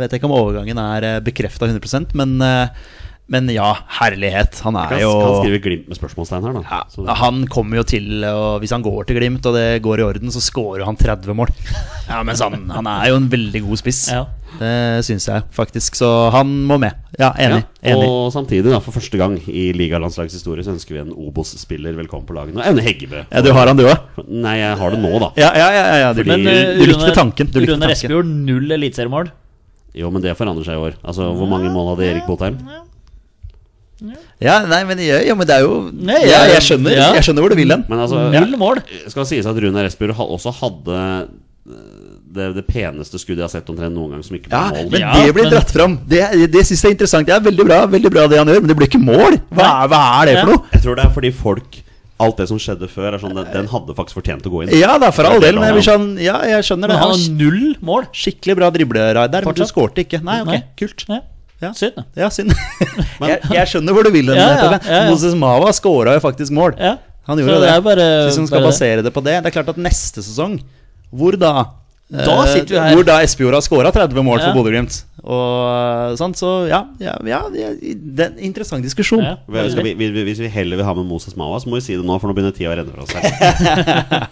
B: vet jeg ikke om overgangen er bekrefta 100 men eh, Men ja, herlighet. Han er
A: Kan,
B: jo
A: kan skrive Glimt med spørsmålstegn her, da.
B: ja,
A: Så-
B: Han kommer jo til Og hvis han går til Glimt, og det går i orden, så scorer han 30
D: <laughs>
B: mål. Ja, men han, han er jo en veldig god spiss.
D: Ja.
B: Det syns jeg faktisk. Så han må med. Ja,
A: Ja,
B: enig. enig.
A: og samtidig, da, for første gang i ligalandslagets historie, så ønsker vi en Obos-spiller velkommen på laget. Og Aune Heggebø.
B: Ja, du har han, du òg?
A: Nei, jeg har det nå, da.
B: Ja, ja, ja, ja, ja, du,
A: Fordi-
B: du,
D: eh,
B: du likte
D: Rune-
B: tanken. Du likte
D: Rune
B: tanken.
D: Espejord, null eliteseriemål.
A: Jo, men det forandrer seg i år. Altså, Hvor mange mål hadde Erik Botheim?
B: Ja, nei, men, ja, ja, men det er jo
D: Nei,
B: ja,
D: ja,
B: Jeg skjønner
D: ja.
B: Jeg skjønner hvor du vil hen.
A: Men altså,
D: Null mål!
A: skal sies at Runar Espejord ha- også hadde eh, det, det peneste skuddet jeg har sett omtrent noen gang, som ikke ble
B: Ja,
A: mål.
B: men
D: Ja,
B: det blir
D: men-
B: dratt fram. Det, det syns jeg er interessant. Det er veldig bra, veldig bra det han gjør, men det blir ikke mål. Hva, er- hva er det for
D: Ja.
B: noe?
A: Jeg tror det er fordi folk Alt det som skjedde før, er sånn den, den hadde faktisk fortjent å gå inn.
B: Ja da, for all
A: Det er
B: del, men jeg blir sånn Ja, jeg skjønner
D: Men
B: det.
D: han har
B: Han
D: null mål.
B: skikkelig bra dribleraid der, men du
D: Fortsatt.
B: skårte ikke. Nei, ok,
D: Nei.
B: kult.
D: Ja.
B: Ja.
D: Synd. da.
B: Ja, synd. jeg, <laughs> jeg skjønner hvor du vil hen.
D: Ja, ja,
B: Tove.
D: ja, ja.
B: Moses Mava scora jo faktisk mål.
D: Ja.
B: Han
D: Så
B: gjorde
D: det
B: det.
D: er bare-
B: Hvis man skal
D: bare det.
B: basere det på det. Det er klart at neste sesong, hvor da?
D: Da
B: Eh,
D: sitter vi her.
B: Hvor da Espejord har scora 30 mål
D: Ja.
B: for Bodø-Glimt. Og sånn, så ja, ja, ja det det er en interessant diskusjon.
D: Ja.
A: Hva- Skal vi, vi, vi- hvis vi heller vil ha med Moses Mawa, så må vi si det nå, for nå begynner tida å renne fra oss. her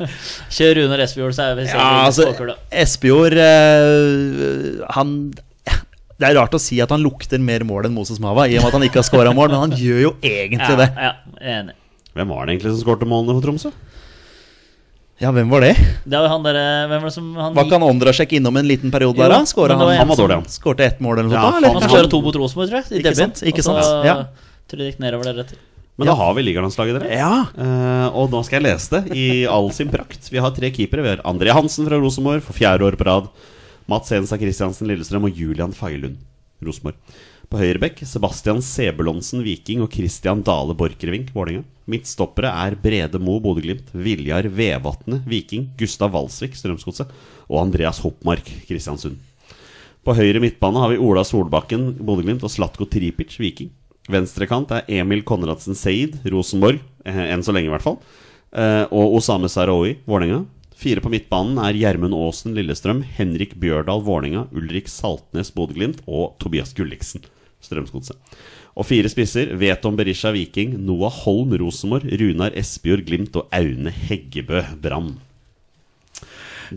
D: Kjør Rune Espejord, så er vi
B: Ja, altså,
D: Åker, da.
B: Espejord eh, Han Det er rart å si at han lukter mer mål enn Moses Mava, i og med at han ikke har scora mål, men han gjør jo egentlig det.
D: Ja, ja, enig.
A: Hvem var det egentlig som skårte målene for Tromsø?
B: Ja, hvem var det?
D: Det var han derre Hvem var det som han
B: Var ikke han Ondrasjek innom en liten periode
D: Jo,
B: der, da? Skåra
D: men det var
B: han?
A: Han var dårlig, han.
B: Skårte ett mål eller noe
A: Ja,
B: sånt? da, eller?
D: Han skåra to mot Rosenborg, tror jeg. I
B: Ikke
D: debut.
B: sant, ikke
D: Og så
B: sant, ja.
D: tror jeg det gikk nedover der etter.
A: Men da har vi ligalandslaget, dere.
B: Ja.
A: Eh, og nå skal jeg lese det i all sin prakt. Vi har tre keepere. Vi har André Hansen fra Rosenborg for fjerde år på rad. Mats Hensa Christiansen Lillestrøm og Julian Feilund Rosenborg. På høyrebekk Sebastian Sebulonsen Viking og Christian Dale Borchgrevink Vålerenga. Midtstoppere er Brede Mo Bodø-Glimt, Viljar Vevatnet Viking, Gustav Walsvik Strømsgodset og Andreas Hoppmark Kristiansund. På høyre midtbane har vi Ola Solbakken, Bodø-Glimt, og Slatko Tripic, Viking. Venstrekant er Emil Konradsen Seid, Rosenborg, eh, enn så lenge i hvert fall. Eh, og Osame Sarawi, Vålerenga. Fire på midtbanen er Gjermund Aasen, Lillestrøm, Henrik Bjørdal, Vålerenga, Ulrik Saltnes, Bodø-Glimt og Tobias Gulliksen, Strømsgodset. Og fire spisser, Veton Berisha Viking, Noah Holm Rosenborg, Runar Espejord Glimt og Aune Heggebø Brann.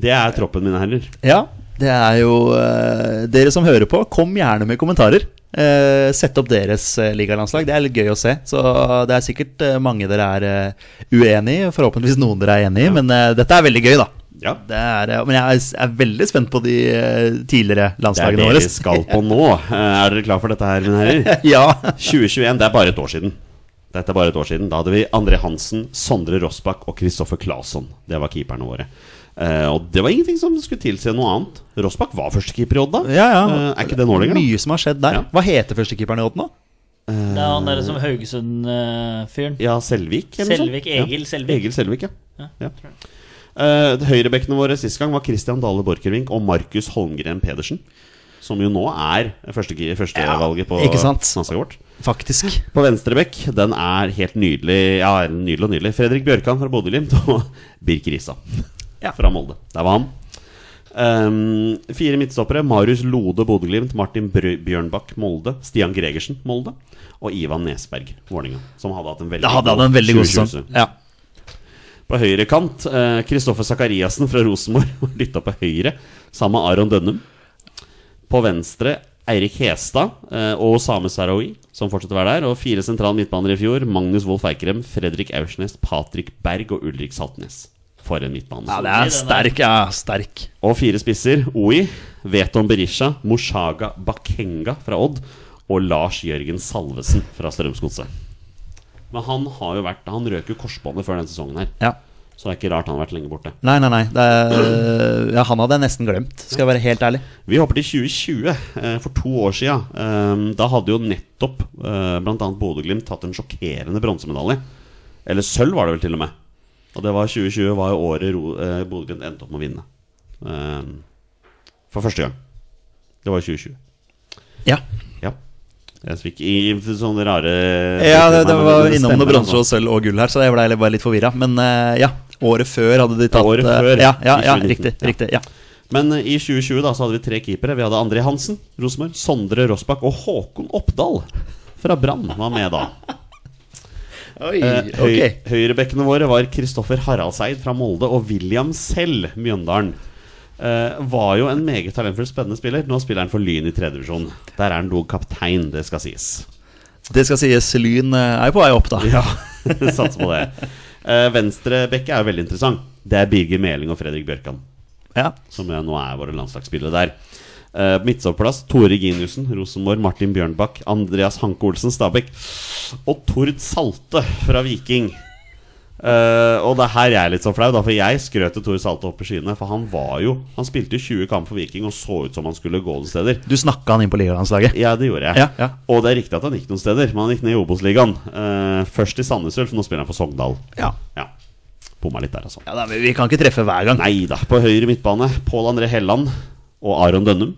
A: Det er troppen, mine herrer.
B: Ja, det er jo eh, Dere som hører på, kom gjerne med kommentarer. Eh, sett opp deres eh, ligalandslag. Det er litt gøy å se. Så det er sikkert eh, mange dere er eh, uenig i. Forhåpentligvis noen dere er enig i. Men eh, dette er veldig gøy, da.
A: Ja,
B: Det er, eh, men jeg er, er veldig spent på de eh, tidligere
A: Det er
B: landslagene
A: det
B: våre.
A: vi skal på nå. Eh, Er dere klar for dette her, mine herrer?
B: <laughs> Ja.
A: 2021, det er bare et år siden. Dette er bare et år siden. Da hadde vi André Hansen, Sondre Rossbakk og Kristoffer Claesson. Det var keeperne våre. Eh, og det var ingenting som skulle tilsi noe annet. Rossbakk var førstekeeper i Odd da.
B: Ja, ja.
A: Eh, er ikke det nå lenger? da?
B: Mye som har skjedd der.
A: Ja.
B: Hva heter førstekeeperen i Odd nå?
D: Det er han derre som eh, Haugesund-fyren.
A: Ja, Selvik. eller noe sånt.
D: Selvik, Egil
A: ja.
D: Selvik.
A: Egil Selvik, ja. ja. Eh, Høyrebekkene våre sist gang var Christian Dale Borchgrevink og Markus Holmgren Pedersen. Som jo nå er førstevalget første førstevalget på
B: ikke sant?
A: landslaget vårt.
B: Faktisk.
A: På venstrebekk, den er helt nydelig. Ja, nydelig og nydelig. Fredrik Bjørkan fra Bodø-Glimt og <laughs> Birk Risa
B: Ja.
A: fra Molde. Der var han. Ehm, fire midtstoppere. Marius Lode Bodø-Glimt, Martin Brø Bjørnbakk Molde, Stian Gregersen Molde og Ivan Nesberg Vålerenga. Som hadde hatt en veldig
B: Da hadde han en veldig god
A: 2020.
B: sesong. Ja.
A: På høyre kant, eh, Kristoffer Sakariassen fra Rosenborg <laughs> dytta på høyre, sammen med Aron Dønnum. På venstre Eirik Hestad eh, og Same Sarawi, som fortsetter å være der. Og fire sentrale midtbaner i fjor, Magnus Wolff Eikrem, Fredrik Aursnes, Patrik Berg og Ulrik Saltnes. For en midtbane.
B: ja, det er sterk. Ja, sterk.
A: Og fire spisser, OI, Veton Berisha, Moshaga Bakenga fra Odd og Lars Jørgen Salvesen fra Strømsgodset. Men han har jo vært Han røk jo korsbåndet før denne sesongen her.
B: Ja.
A: Så det er ikke rart han har vært lenge borte.
B: Nei, nei, nei. Det er, eh, ja, han hadde jeg nesten glemt, skal jeg være helt ærlig.
A: Vi hopper til 2020, eh, for to år sia. Da hadde jo nettopp eh, bl.a. Bodø-Glimt tatt en sjokkerende bronsemedalje. Eller sølv, var det vel til og med. Og det var 2020 var jo året Ro- eh, Bodø-Glimt endte opp med å vinne. Eh, For første gang. Det var i 2020.
B: Ja,
A: Ja. Jeg fikk i sånne rare
B: det, det var
A: stemmer,
B: innom noe
A: altså.
B: bronse og sølv og gull her, så jeg ble litt- bare litt forvirra. Men eh, ja, året før hadde de tatt
A: Året
B: eh,
A: før,
B: Ja, ja,
A: i
B: ja
A: 2019,
B: riktig.
A: ja.
B: riktig ja.
A: Men eh, i 2020 da, så hadde vi tre keepere. Vi hadde André Hansen, Rosenborg, Sondre Rossbakk og Håkon Oppdal fra Brann var med da.
B: Oi,
A: Eh, høy,
B: ok.
A: Høyrebekkene våre var Kristoffer Haraldseid fra Molde og William selv, Mjøndalen. Eh, var jo en meget talentfull, spennende spiller. Nå spiller han for Lyn i tredje divisjon. Der er han dog kaptein, det skal sies. <laughs>
B: Det skal sies, Lyn eh, er jo på vei opp, da.
A: Ja, Satser på det. Eh, Venstrebekke er jo veldig interessant. Det er Birger Meling og Fredrik Bjørkan,
B: Ja.
A: som eh, nå er våre landslagsspillere der. Eh, Midtstopplass Tore Ginussen, Rosenborg, Martin Bjørnbakk, Andreas Hanke Olsen, Stabæk og Tord Salte fra Viking. Eh, og det er her jeg er litt så flau, da, for jeg skrøt til Tore Salte opp i skyene. For han var jo Han spilte 20 kamper for Viking og så ut som han skulle gå noen steder.
B: Du snakka han inn på ligalandslaget.
A: Ja, det gjorde jeg.
B: Ja, ja.
A: Og det er riktig at han gikk noen steder, men han gikk ned i Obos-ligaen. Eh, først i Sandnes Ulf, nå spiller han for Sogndal.
B: Ja.
A: Ja. Bomma litt der, altså.
B: Ja, da, men Vi kan ikke treffe hver gang.
A: Nei da. På høyre midtbane Pål André Helland og Aron Dønnum.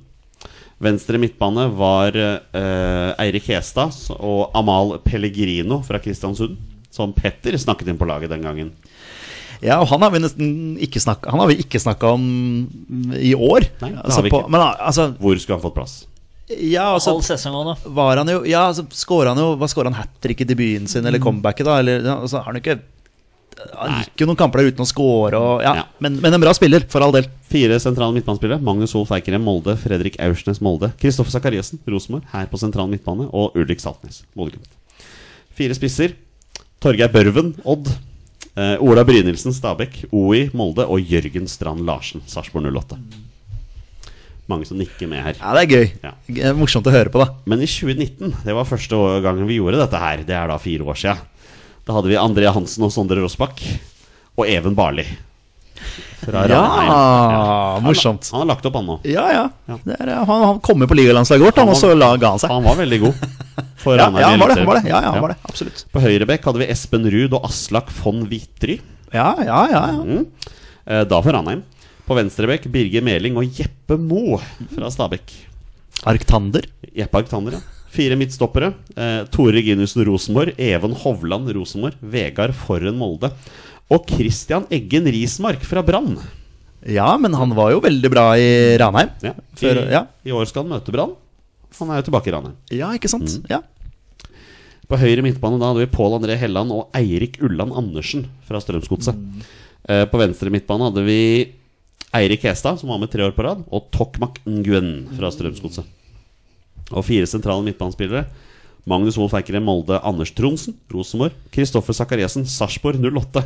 A: Venstre midtbane var eh, Eirik Hestad og Amal Pellegrino fra Kristiansund. Som Petter snakket inn på laget den gangen.
B: Ja, og han har vi nesten ikke snakka Han har vi ikke snakka om i år.
A: Nei, det
B: altså,
A: har vi
B: på,
A: ikke.
B: men altså
A: Hvor skulle han fått plass?
B: Ja, altså
D: Halv sesong også, da.
B: var han jo Ja, altså, skåra han jo Hva skåra han hat trick i debuten sin, eller comebacket, da? Eller, ja, altså, har han jo ikke Han
A: Nei.
B: gikk jo noen kamper der uten å score og ja,
A: Ja.
B: Men, men en bra spiller, for all del.
A: Fire sentrale midtbanespillere. Magnus Wolff Eikrem Molde. Fredrik Aursnes Molde. Kristoffer Sakariassen Rosenborg her på sentral midtbane. Og Ulrik Saltnes Bodø-Glimt. Fire spisser. Torgeir Børven Odd. Eh, Ola Brynildsen Stabæk. OI Molde. Og Jørgen Strand Larsen Sarpsborg 08. Mange som nikker med her.
B: Ja, det er gøy.
A: Ja.
B: G- eh, Morsomt å høre på, da.
A: Men i 2019, det var første å- gangen vi gjorde dette her, det er da fire år sia, da hadde vi André Hansen og Sondre Rossbakk. Og Even Barli. Fra
B: Ja,
A: Ranheim.
B: morsomt.
A: Han har lagt opp, han nå.
B: Ja, ja.
A: Ja.
B: Det er, han, han kom med på ligalandslaget vårt, han,
A: Han
B: og så
A: var-
B: la, ga han seg.
A: Han var veldig
B: <laughs>
A: god. For
B: Ja,
A: Ranheim
B: ja, han var det.
A: i
B: Han var det. Ja, ja,
A: Ja.
B: han var det. Absolutt.
A: På høyrebekk hadde vi Espen Ruud og Aslak von Wittry.
B: Ja, ja, ja. ja.
A: Mm. Eh, Da for Ranheim. På venstrebekk Birger Meling og Jeppe Mo fra Stabekk.
B: Arktander.
A: Jeppe Arctander, ja. Fire midtstoppere. Eh, Tore Ginussen Rosenborg. Even Hovland Rosenborg. Vegard Forren Molde. Og Christian Eggen Rismark fra Brann.
B: Ja, men han var jo veldig bra i Ranheim.
A: Ja. I,
B: Før- ja.
A: I år skal han møte Brann. Han er jo tilbake i Ranheim.
B: Ja, ikke sant? Mm. Ja.
A: På høyre midtbane da hadde vi Pål André Helland og Eirik Ulland Andersen fra Strømsgodset. Eh, På venstre midtbane hadde vi Eirik Hestad, som var med tre år på rad, og Tokmak Nguyen fra Strømsgodset. Og fire sentrale midtbanespillere. Magnus Wolff Eikrem Molde, Anders Tronsen, Rosenborg, Kristoffer Sakariassen, Sarpsborg 08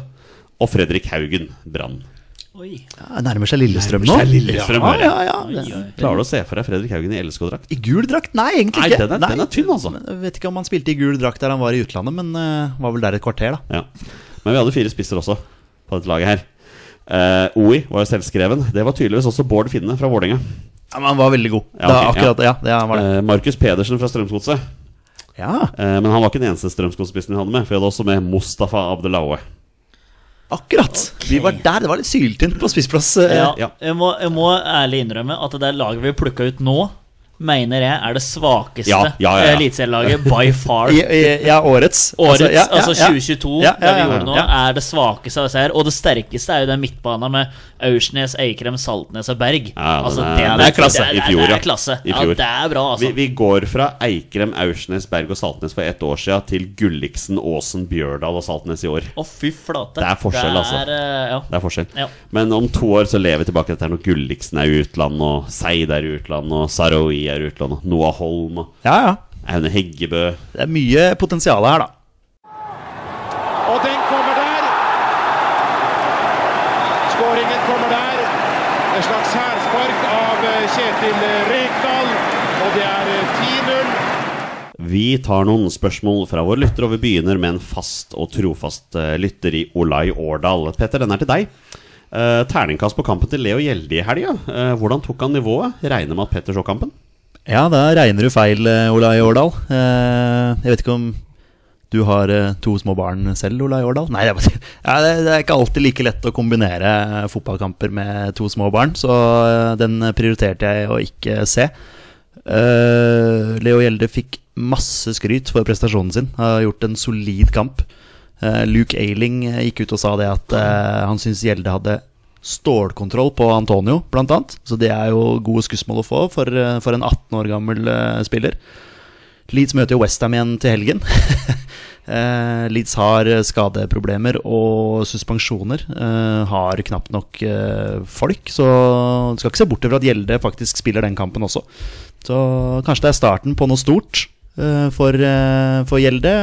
A: og Fredrik Haugen, Brann.
D: Oi.
B: Ja, nærmer seg Lillestrøm nå.
A: Nærmer seg Lillestrøm,
B: ja,
A: hører jeg.
B: ja, ja. Det-
A: Klarer du å se for deg Fredrik Haugen i LSK-drakt?
B: I gul drakt? Nei, egentlig
A: Nei,
B: ikke.
A: den er- den er tynn, altså.
B: Men Jeg vet ikke om han spilte i gul drakt der han var i utlandet, men eh, var vel der et kvarter, da.
A: Ja. Men vi hadde fire spisser også på dette laget her. Eh, OI var jo selvskreven. Det var tydeligvis også Bård Finne fra Vålerenga.
B: Ja, men han var veldig god.
A: Ja,
B: da,
A: ok,
B: akkurat, ja. det han var det.
A: Eh, Markus Pedersen fra Strømsgodset.
B: Ja,
A: Eh, men han var ikke den eneste Strømsgodspissen vi hadde med. For vi hadde også med Mustafa Abdelaue.
B: akkurat! Vi var der. Det var litt syltynt på spissplass. eh.
D: Ja,
A: ja.
D: Jeg, må, jeg må ærlig innrømme at det der laget vi plukka ut nå, mener jeg er det svakeste
A: Ja, ja, ja, ja.
D: eliteserielaget
A: <laughs>
D: by far.
B: I, i, ja, årets.
D: Årets, altså,
B: ja, ja, ja.
D: 2022,
B: Ja, ja,
D: det vi
B: ja,
D: gjorde nå,
B: ja.
D: er det svakeste av disse her. Og det sterkeste er jo den midtbana med Aursnes, Eikrem, Saltnes og Berg.
A: Ja, den
D: altså,
A: er-
D: den
A: den er klasse.
D: Det er,
A: I fjor,
D: det
A: ja.
D: er klasse.
A: I fjor.
D: Ja, det er bra, altså.
A: Vi, vi går fra Eikrem, Aursnes, Berg og Saltnes for ett år siden til Gulliksen, Aasen, Bjørdal og Saltnes i år.
D: Å, fy flate.
A: Det er forskjell,
D: det
A: altså.
D: er, eh, ja.
A: Det er forskjell.
D: Ja.
A: Men om to år så lever vi tilbake til dette her når Gulliksen er i utlandet, og Seid er i utlandet, og Saroui er i utlandet, og Noah Holm og
B: ja, ja.
A: Aune Heggebø
B: Det er mye potensial her, da.
E: Og den kommer der. Skåringen kommer der. Et slags hælspark av eh, Kjetil eh, Rekdal. Og det er eh, 10-0.
A: Vi tar noen spørsmål fra våre lyttere, og vi begynner med en fast og trofast eh, lytter i Olai Årdal. Petter, den er til deg. Eh, terningkast på kampen til Leo Gjelde i helga. Eh, hvordan tok han nivået? Regner med at Petter så kampen?
B: Ja, da regner du feil, eh, Olai Årdal. Eh, jeg vet ikke om du har eh, to små barn selv, Olai Årdal? Nei, jeg bare, <laughs> ja, det, det er ikke alltid like lett å kombinere eh, fotballkamper med to små barn, så eh, den prioriterte jeg å ikke se. Eh, Leo Gjelde fikk masse skryt for prestasjonen sin. Har gjort en solid kamp. Eh, Luke Ailing eh, gikk ut og sa det at eh, han syns Gjelde hadde stålkontroll på Antonio, blant annet. Så det er jo gode skussmål å få for, eh, for en 18 år gammel eh, spiller. Leeds møter jo Westham igjen til helgen. <laughs> Eh, Leeds har eh, skadeproblemer og suspensjoner. eh, har knapt nok eh, folk, så du skal ikke se bort fra at Gjelde faktisk spiller den kampen også. Så kanskje det er starten på noe stort eh, for, eh, for Gjelde.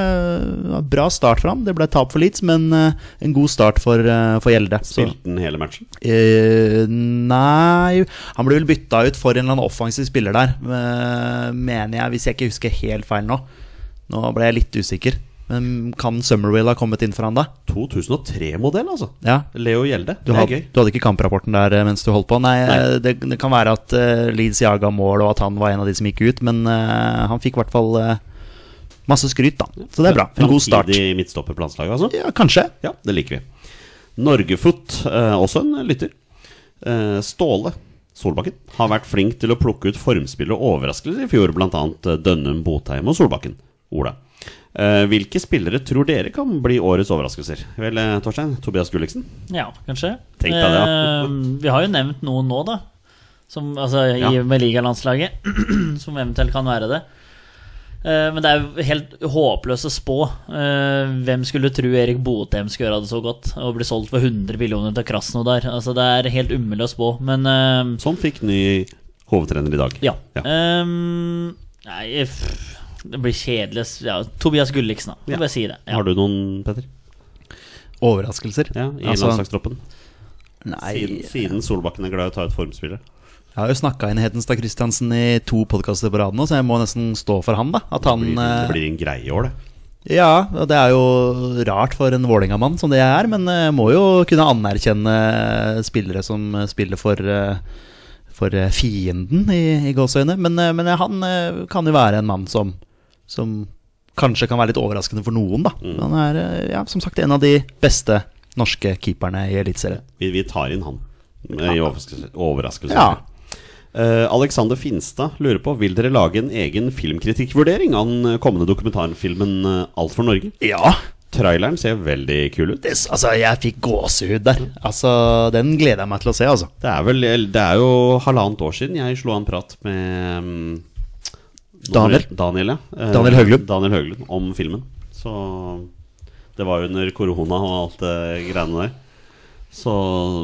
B: Eh, Bra start for ham. Det ble tap for Leeds, men eh, en god start for, eh, for Gjelde. Så-
A: Spilte han hele matchen?
B: Eh, nei Han ble vel bytta ut for en eller annen offensiv spiller der, eh, mener jeg, hvis jeg ikke husker helt feil nå. Nå ble jeg litt usikker. Men kan Summerwill ha kommet inn for han da?
A: 2003-modell, altså.
B: Ja.
A: Leo Gjelde.
B: Du,
A: det
B: had,
A: er gøy.
B: du hadde ikke kamprapporten der eh, mens du holdt på? Nei,
A: Nei.
B: eh, Det, det kan være at eh, Leeds jaga mål, og at han var en av de som gikk ut, men eh, han fikk i hvert fall eh, masse skryt, da. Så det er bra. En god start.
A: Framtidig midtstopper på landslaget, altså.
B: Ja, kanskje.
A: Ja, det liker vi. Norgefot, eh, også en lytter. Eh, Ståle Solbakken har vært flink til å plukke ut formspill og overraskelser i fjor, bl.a. Dønnum, Botheim og Solbakken. Ola. Eh, hvilke spillere tror dere kan bli årets overraskelser? Vel, eh, Torstein? Tobias Gulliksen?
D: Ja, kanskje.
A: Tenk deg det, ja.
D: Eh, vi har jo nevnt noen nå, da. Som, altså, i,
A: Ja.
D: Med ligalandslaget, <clears throat> som eventuelt kan være det. Eh, men det er jo helt håpløst å spå. Eh, hvem skulle tro Erik Botheim skulle gjøre det så godt? Og bli solgt for 100 millioner til Krasnodar. Altså, det er helt umulig å spå. Men eh,
A: Som fikk ny hovedtrener i dag.
D: ja. Ehm, nei, f- det blir kjedelig. Ja, Tobias Gulliksen, da.
A: Ja.
D: Bare si det. Ja.
A: Har du noen, Petter?
B: Overraskelser.
A: Ja, I
B: Altså,
A: landslagstroppen? Siden,
B: nei,
A: siden Solbakken er glad i å ta ut formspillere.
B: Jeg har jo snakka inn Hedenstad Christiansen i to podkaster på rad nå, så jeg må nesten stå for han, da. At han
A: Det blir, det
B: eh,
A: blir en greie i år, det.
B: Ja, og det er jo rart for en Vålerenga-mann som det jeg er, men eh, må jo kunne anerkjenne spillere som eh, spiller for eh, for eh, fienden, i, i gåseøyne. Men, eh, men eh, han eh, kan jo være en mann som, som kanskje kan være litt overraskende for noen, da.
A: Mm.
B: Han er eh, ja, som sagt en av de beste norske keeperne i Eliteserien.
A: Vi, vi tar inn han eh, i overraskelse. overraskelse.
B: Ja.
A: Eh, Alexander Finstad lurer på Vil dere lage en egen filmkritikkvurdering av den kommende dokumentarfilmen eh, Alt for Norge?
B: Ja,
A: Traileren ser veldig kul ut.
B: det, s- altså, jeg fikk gåsehud der. Altså, den gleder jeg meg til å se, altså.
A: Det er vel Det er jo halvannet år siden jeg slo en prat med mm, nå må
B: Daniel.
A: jeg- Daniel, ja. Eh,
B: Daniel Høglund.
A: Daniel Høglund om filmen. Så det var jo under korona og alt det greiene der. Så,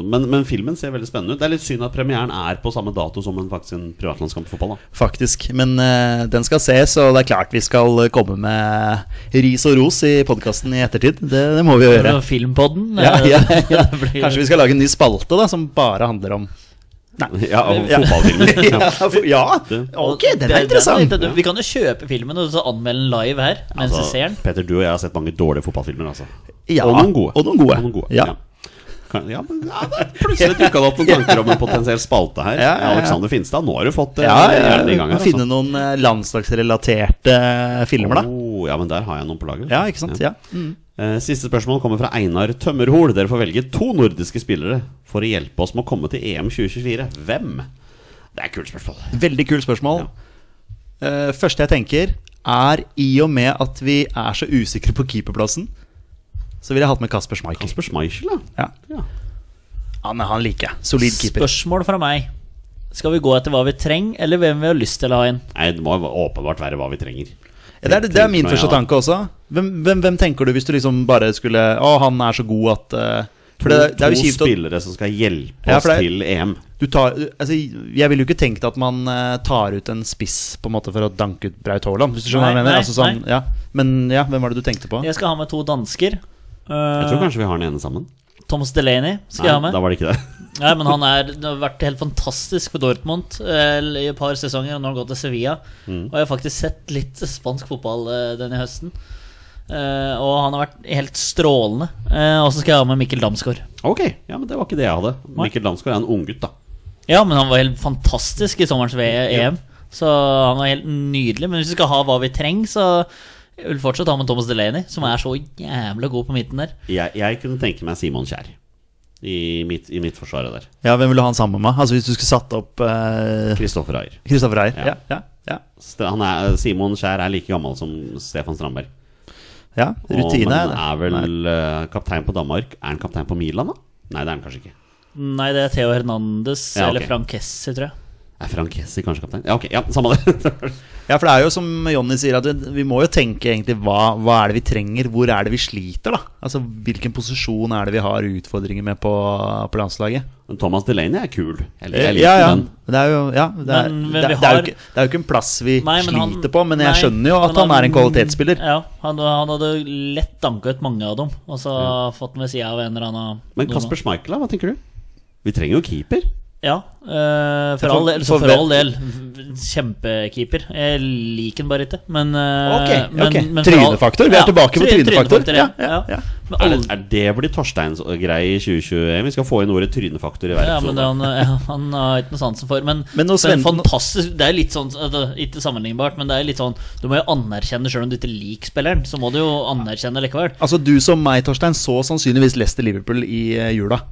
A: men, men filmen ser veldig spennende ut. Det er litt synd at premieren er på samme dato som en, faktisk en privatlandskamp i fotball. da
B: Faktisk. Men eh, den skal ses, og det er klart vi skal komme med ris og ros i podkasten i ettertid. Det, det må vi jo gjøre.
D: Eller Filmpodden?
B: Ja,
D: eh,
B: ja, <laughs> ja.
D: <laughs> det blir-
B: Kanskje vi skal lage en ny spalte da, som bare handler om
A: Ja, <laughs> og <laughs> fotballfilmer.
B: <laughs> Ja, for- ja. ok, den er interessant.
D: Vi kan jo kjøpe filmen og så anmelde den live her. Mens
A: Altså,
D: vi ser den
A: Petter, du og jeg har sett mange dårlige fotballfilmer. Altså.
B: Ja,
A: og noen gode.
B: og noen gode. Ja.
A: Kan- Ja, men ja, da plutselig dukka det opp
B: <laughs>
A: noen tanker om en potensiell spalte her.
B: Ja, ja, ja.
A: Alexander Finstad, nå har du fått eh,
B: Ja, ja,
A: hjernen i gang. her, altså.
B: finne noen eh, landslagsrelaterte filmer, da.
A: Oh, ja, men der har jeg noen på lager.
B: Ja, ikke sant? Ja.
A: Eh, Siste spørsmål kommer fra Einar Tømmerhol. Dere får velge to nordiske spillere for å hjelpe oss med å komme til EM 2024. Hvem? Det er et kult spørsmål.
B: Veldig kult spørsmål. Eh, første jeg tenker, er i og med at vi er så usikre på keeperplassen, så ville jeg hatt med Kasper Schmeichel.
A: Kasper Schmeichel, da.
B: Ja.
A: Ja.
B: Han, han liker jeg. Solid keeper.
D: Spørsmål fra meg. Skal vi gå etter hva vi trenger, eller hvem vi har lyst til å ha inn?
A: Nei, det må åpenbart være hva vi trenger.
B: Ja, det, er, det er min
A: Tenker
B: første
A: meg, ja.
B: tanke også. Hvem, hvem, hvem tenker du hvis du liksom bare skulle Å, han er så god at eh», For det, det er jo
A: to
B: kjipt at
A: spillere som skal hjelpe
B: Ja,
A: oss
B: for det er-
A: til EM.
B: du tar Altså, jeg ville jo ikke tenkt at man eh, tar ut en spiss på en måte for å danke ut Braut Haaland, hvis du skjønner hva
D: Nei,
B: jeg mener?
D: nei,
B: Altså, sånn, ja. Men ja, hvem var det du tenkte på?
D: Jeg skal ha med to dansker.
A: Jeg tror
B: Eh.
D: Uh,
A: kanskje vi har den ene sammen.
D: Thomas Delaney skal
A: Nei,
D: jeg ha med.
A: da var det ikke det.
D: Nei, men han er, det har vært helt fantastisk for Dortmund eh, i et par sesonger. Og nå har han gått til Sevilla.
A: Mm.
D: Og jeg har faktisk sett litt spansk fotball eh, denne høsten. Eh, og han har vært helt strålende. Eh, og så skal jeg ha med Mikkel Damsgaard.
A: Ok, ja, men det var ikke det jeg hadde. Mikkel Damsgaard er en unggutt, da.
D: Ja, men han var helt fantastisk i sommerens v EM. Så han var helt nydelig. Men hvis vi skal ha hva vi trenger, så jeg vil fortsatt ha med Thomas Delaney, som er så jævla god på midten der.
A: Jeg, jeg kunne tenke meg Simon Kjær i mitt, i mitt forsvaret der.
B: Ja, hvem ville du ha han sammen med? Altså Hvis du skulle satt opp eh,
A: Kristoffer Ayer.
B: Kristoffer Eier?
A: Ja.
B: Ja. Ja, ja,
A: St- Han er, Simon Kjær er like gammel som Stefan Strandberg.
B: ja. Rutine.
A: og, men
B: det.
A: er vel eh, kaptein på Danmark. Er han kaptein på Milan, da? Nei, det er han kanskje ikke.
D: Nei, det er Theo Hernandez
A: Ja, ok.
D: eller Frank Kessi, tror jeg.
A: Er Frank Hessi kanskje kaptein? Ja, ok, ja, samme det. <laughs>
B: Ja, for det er jo som Jonny sier, at vi vi må jo tenke egentlig hva, hva er det vi trenger, hvor er det vi sliter, da? Altså hvilken posisjon er det vi har utfordringer med på, på landslaget? Eh,
A: Men Thomas Delaney er kul. Jeg liker, jeg liker
B: ja, ja.
A: den.
B: Det er jo, ja, det er,
D: Men- men
B: det, er-
D: vi
B: det er
D: har-
B: jo ikke, det er jo ikke en plass vi
D: Nei, men han-
B: sliter på, men jeg
D: nei,
B: skjønner jo at
D: men
B: han er en kvalitetsspiller.
D: Ja, han, han hadde lett danket mange av dem, og så fått med sida av en eller annen.
A: Men
D: noen
A: Kasper
D: av-
A: Schmeichel, da? Hva tenker du? Vi trenger jo keeper.
D: Ja, eh, for,
B: For-
D: all del, så
B: for
D: for
B: hvem-
D: all del. Kjempekeeper. Jeg liker den bare ikke, men, eh,
B: Ok, ok.
D: men- men for all-
B: Trynefaktor. Vi er tilbake på
D: tryne-
B: trynefaktor.
D: Ja,
B: Ja,
D: ja,
B: ja,
D: ja.
B: ja.
D: Men
A: Er det,
D: aldri-
A: er det blir Torsteins eh, greie i 2021? Vi skal få inn ordet trynefaktor i hver
D: Ja, men det,
A: episode.
D: han, ja, han har ikke noe sansen for Men,
B: Men hos Sven-
D: men fantastisk Det er litt sånn altså, Ikke sammenlignbart, men det er litt sånn Du må jo anerkjenne selv om du ikke liker spilleren Så må du jo anerkjenne likevel
B: Altså du som meg, Torstein, så sannsynligvis Leicester Liverpool i eh, jula.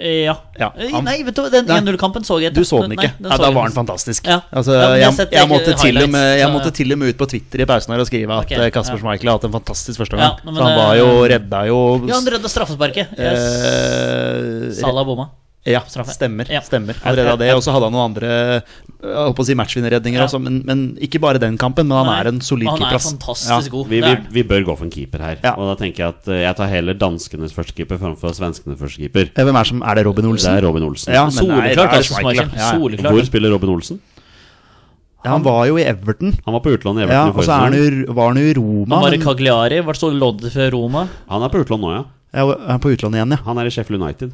D: Eh, Ja,
B: Ja,
D: Eh,
B: han-
D: Nei, vet du hva, Den
B: Nei.
D: 1-0-kampen så jeg
B: Du så den
D: Nei,
B: ikke. ja,
D: så
B: da
D: jeg
B: var den
D: ikke.
B: fantastisk.
D: Ja.
B: Altså,
D: Ja, men jeg
B: jeg,
D: har sett
B: jeg, måtte
D: highlights,
B: til og med, jeg
D: så-
B: måtte til og med ut på Twitter i pausen her og skrive at
D: Ok,
B: eh, Kasper
D: ja.
B: Schmeichel har hatt en fantastisk første
D: Ja,
B: omgang.
D: men
B: Så han
D: det-
B: var jo redda jo
D: Ja, han rødde straffesparket yes.
B: eh,
D: Salah bomma
B: Ja,
D: Straffe.
B: stemmer.
D: Ja.
B: stemmer Han redda det, og så hadde han noen andre eh, jeg holdt på å si matchvinnerredninger
D: Ja.
B: også, men, men ikke bare den kampen. Men han
D: Nei,
B: er en solid
D: Han
B: keeper.
D: er
B: ass.
D: fantastisk
B: Ja.
D: god
A: Vi,
D: Det
A: vi,
D: er han.
A: vi bør gå for en keeper her.
B: Ja.
A: Og da tenker jeg at eh, jeg tar heller danskenes første keeper framfor svenskenes første keeper.
B: Eh, Hvem er som Er det Robin
A: Det
B: Olsen?
A: er Robin Olsen.
B: Ja, men nei, det
D: Soleklart
B: er
D: altså,
B: Schmeichel, ja,
D: Schmeichel
B: ja.
A: Hvor
D: Soleklart
A: spiller Robin Olsen?
B: Han var jo i Everton.
A: Han var på utlandet i
B: Ja,
A: Everton i
B: og så
A: forrige
B: er han
A: sesong.
B: jo, var han jo i Roma.
D: Han var i
B: men-
D: Cagliari Var så lodd for Roma
A: Han er på utlandet nå, ja.
B: Ja, og- er på utlandet igjen, ja.
A: Han er i Sheffield United.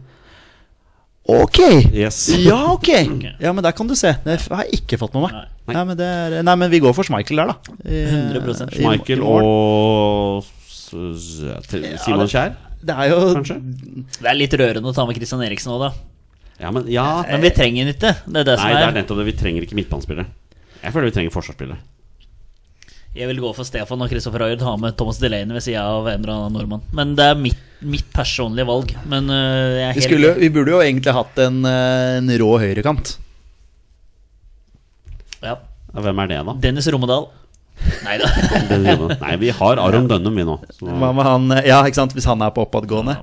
B: Ok!
A: <laughs> Yes.
B: Ja, <laughs> ok! Ja, men der kan du se. Det har jeg ikke fått med meg.
A: Nei.
B: Nei, men, det er, nei, men vi går for Schmeichel der, da. I-
D: 100%
B: i- i
A: Michael
B: morgen.
A: og s- s- t- Simon Kjær,
B: Det er jo
A: kanskje?
D: Det er litt rørende å ta med Christian Eriksen nå da
A: Ja, men ja
D: Men vi trenger den ikke Det er det som
A: Nei, det er
D: er
A: nettopp det. Vi trenger ikke midtbanespillere. Jeg føler vi trenger forsvarsspillere.
D: Jeg vil gå for Stefan og Christopher Ayer ha med Thomas Delaney ved sida av en eller annen nordmann. Men det er mitt, mitt personlige valg. Men øh, jeg er
B: vi,
D: helt
B: skulle, vi burde jo egentlig hatt en, eh, en rå høyrekant.
D: ja.
A: Ja, Hvem er det, da?
D: Dennis Romedal. Nei da.
A: Den jobben. Nei, vi har Aron Dønnum, vi nå. Så
B: Hva med han eh, Ja, ikke sant, hvis han er på oppadgående.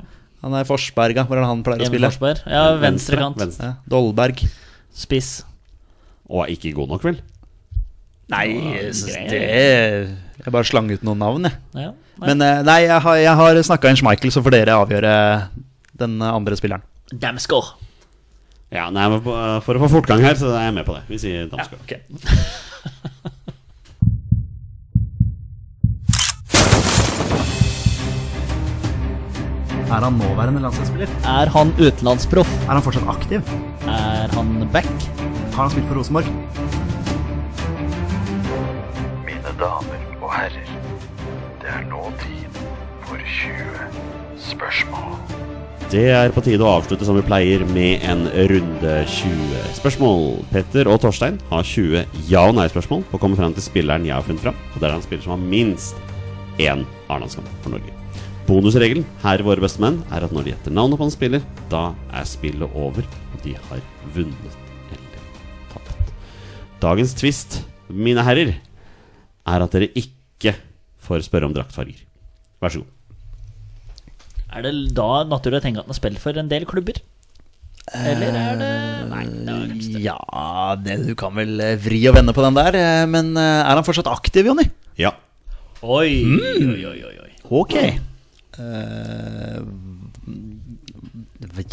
B: Han er i Forsberga, hvor er det han pleier å
D: Emil
B: spille?
D: Forsberg. Ja, venstrekant.
A: Venstre.
B: Ja, Dolberg.
D: Spiss.
A: Og er ikke god nok, vel?
B: Nei, jeg synes det Jeg bare slang ut noen navn, jeg.
D: Ja. Nei.
B: Men eh, nei, jeg har, jeg har snakka inn Schmeichel, så får dere avgjøre den andre spilleren.
D: Damsgaard.
A: Ja, nei, men på- eh, For å få fortgang her, så er jeg med på det. Vi sier Damsgaard.
B: Er han nåværende landslagsspiller?
D: Er han utenlandsproff?
B: Er han fortsatt aktiv?
D: Er han back?
B: Har han spilt for Rosenborg?
F: Mine damer og herrer, det er nå tid for 20 spørsmål.
A: Det er på tide å avslutte som vi pleier med en runde 20 spørsmål. Petter og Torstein har 20 ja- og nei-spørsmål på å komme fram til spilleren jeg har funnet fram. Og det er en spiller som har minst én A-landskamp for Norge. Bonusregelen her i Våre beste menn er at når de gjetter navnet på en spiller, da er spillet over, og de har vunnet eller tapt. Dagens twist, mine herrer, er at dere ikke får spørre om draktfarger. Vær så god.
D: Er det da naturlig å tenke at han har spilt for en del klubber? Eller er det Nei. Det er kanskje det.
B: Ja, det, du kan vel eh, vri og vende på den der. eh, Men eh, er han fortsatt aktiv, Jonny? Hmm.
A: Ja.
D: Oi, oi, oi, oi, oi.
B: Ok. Eh,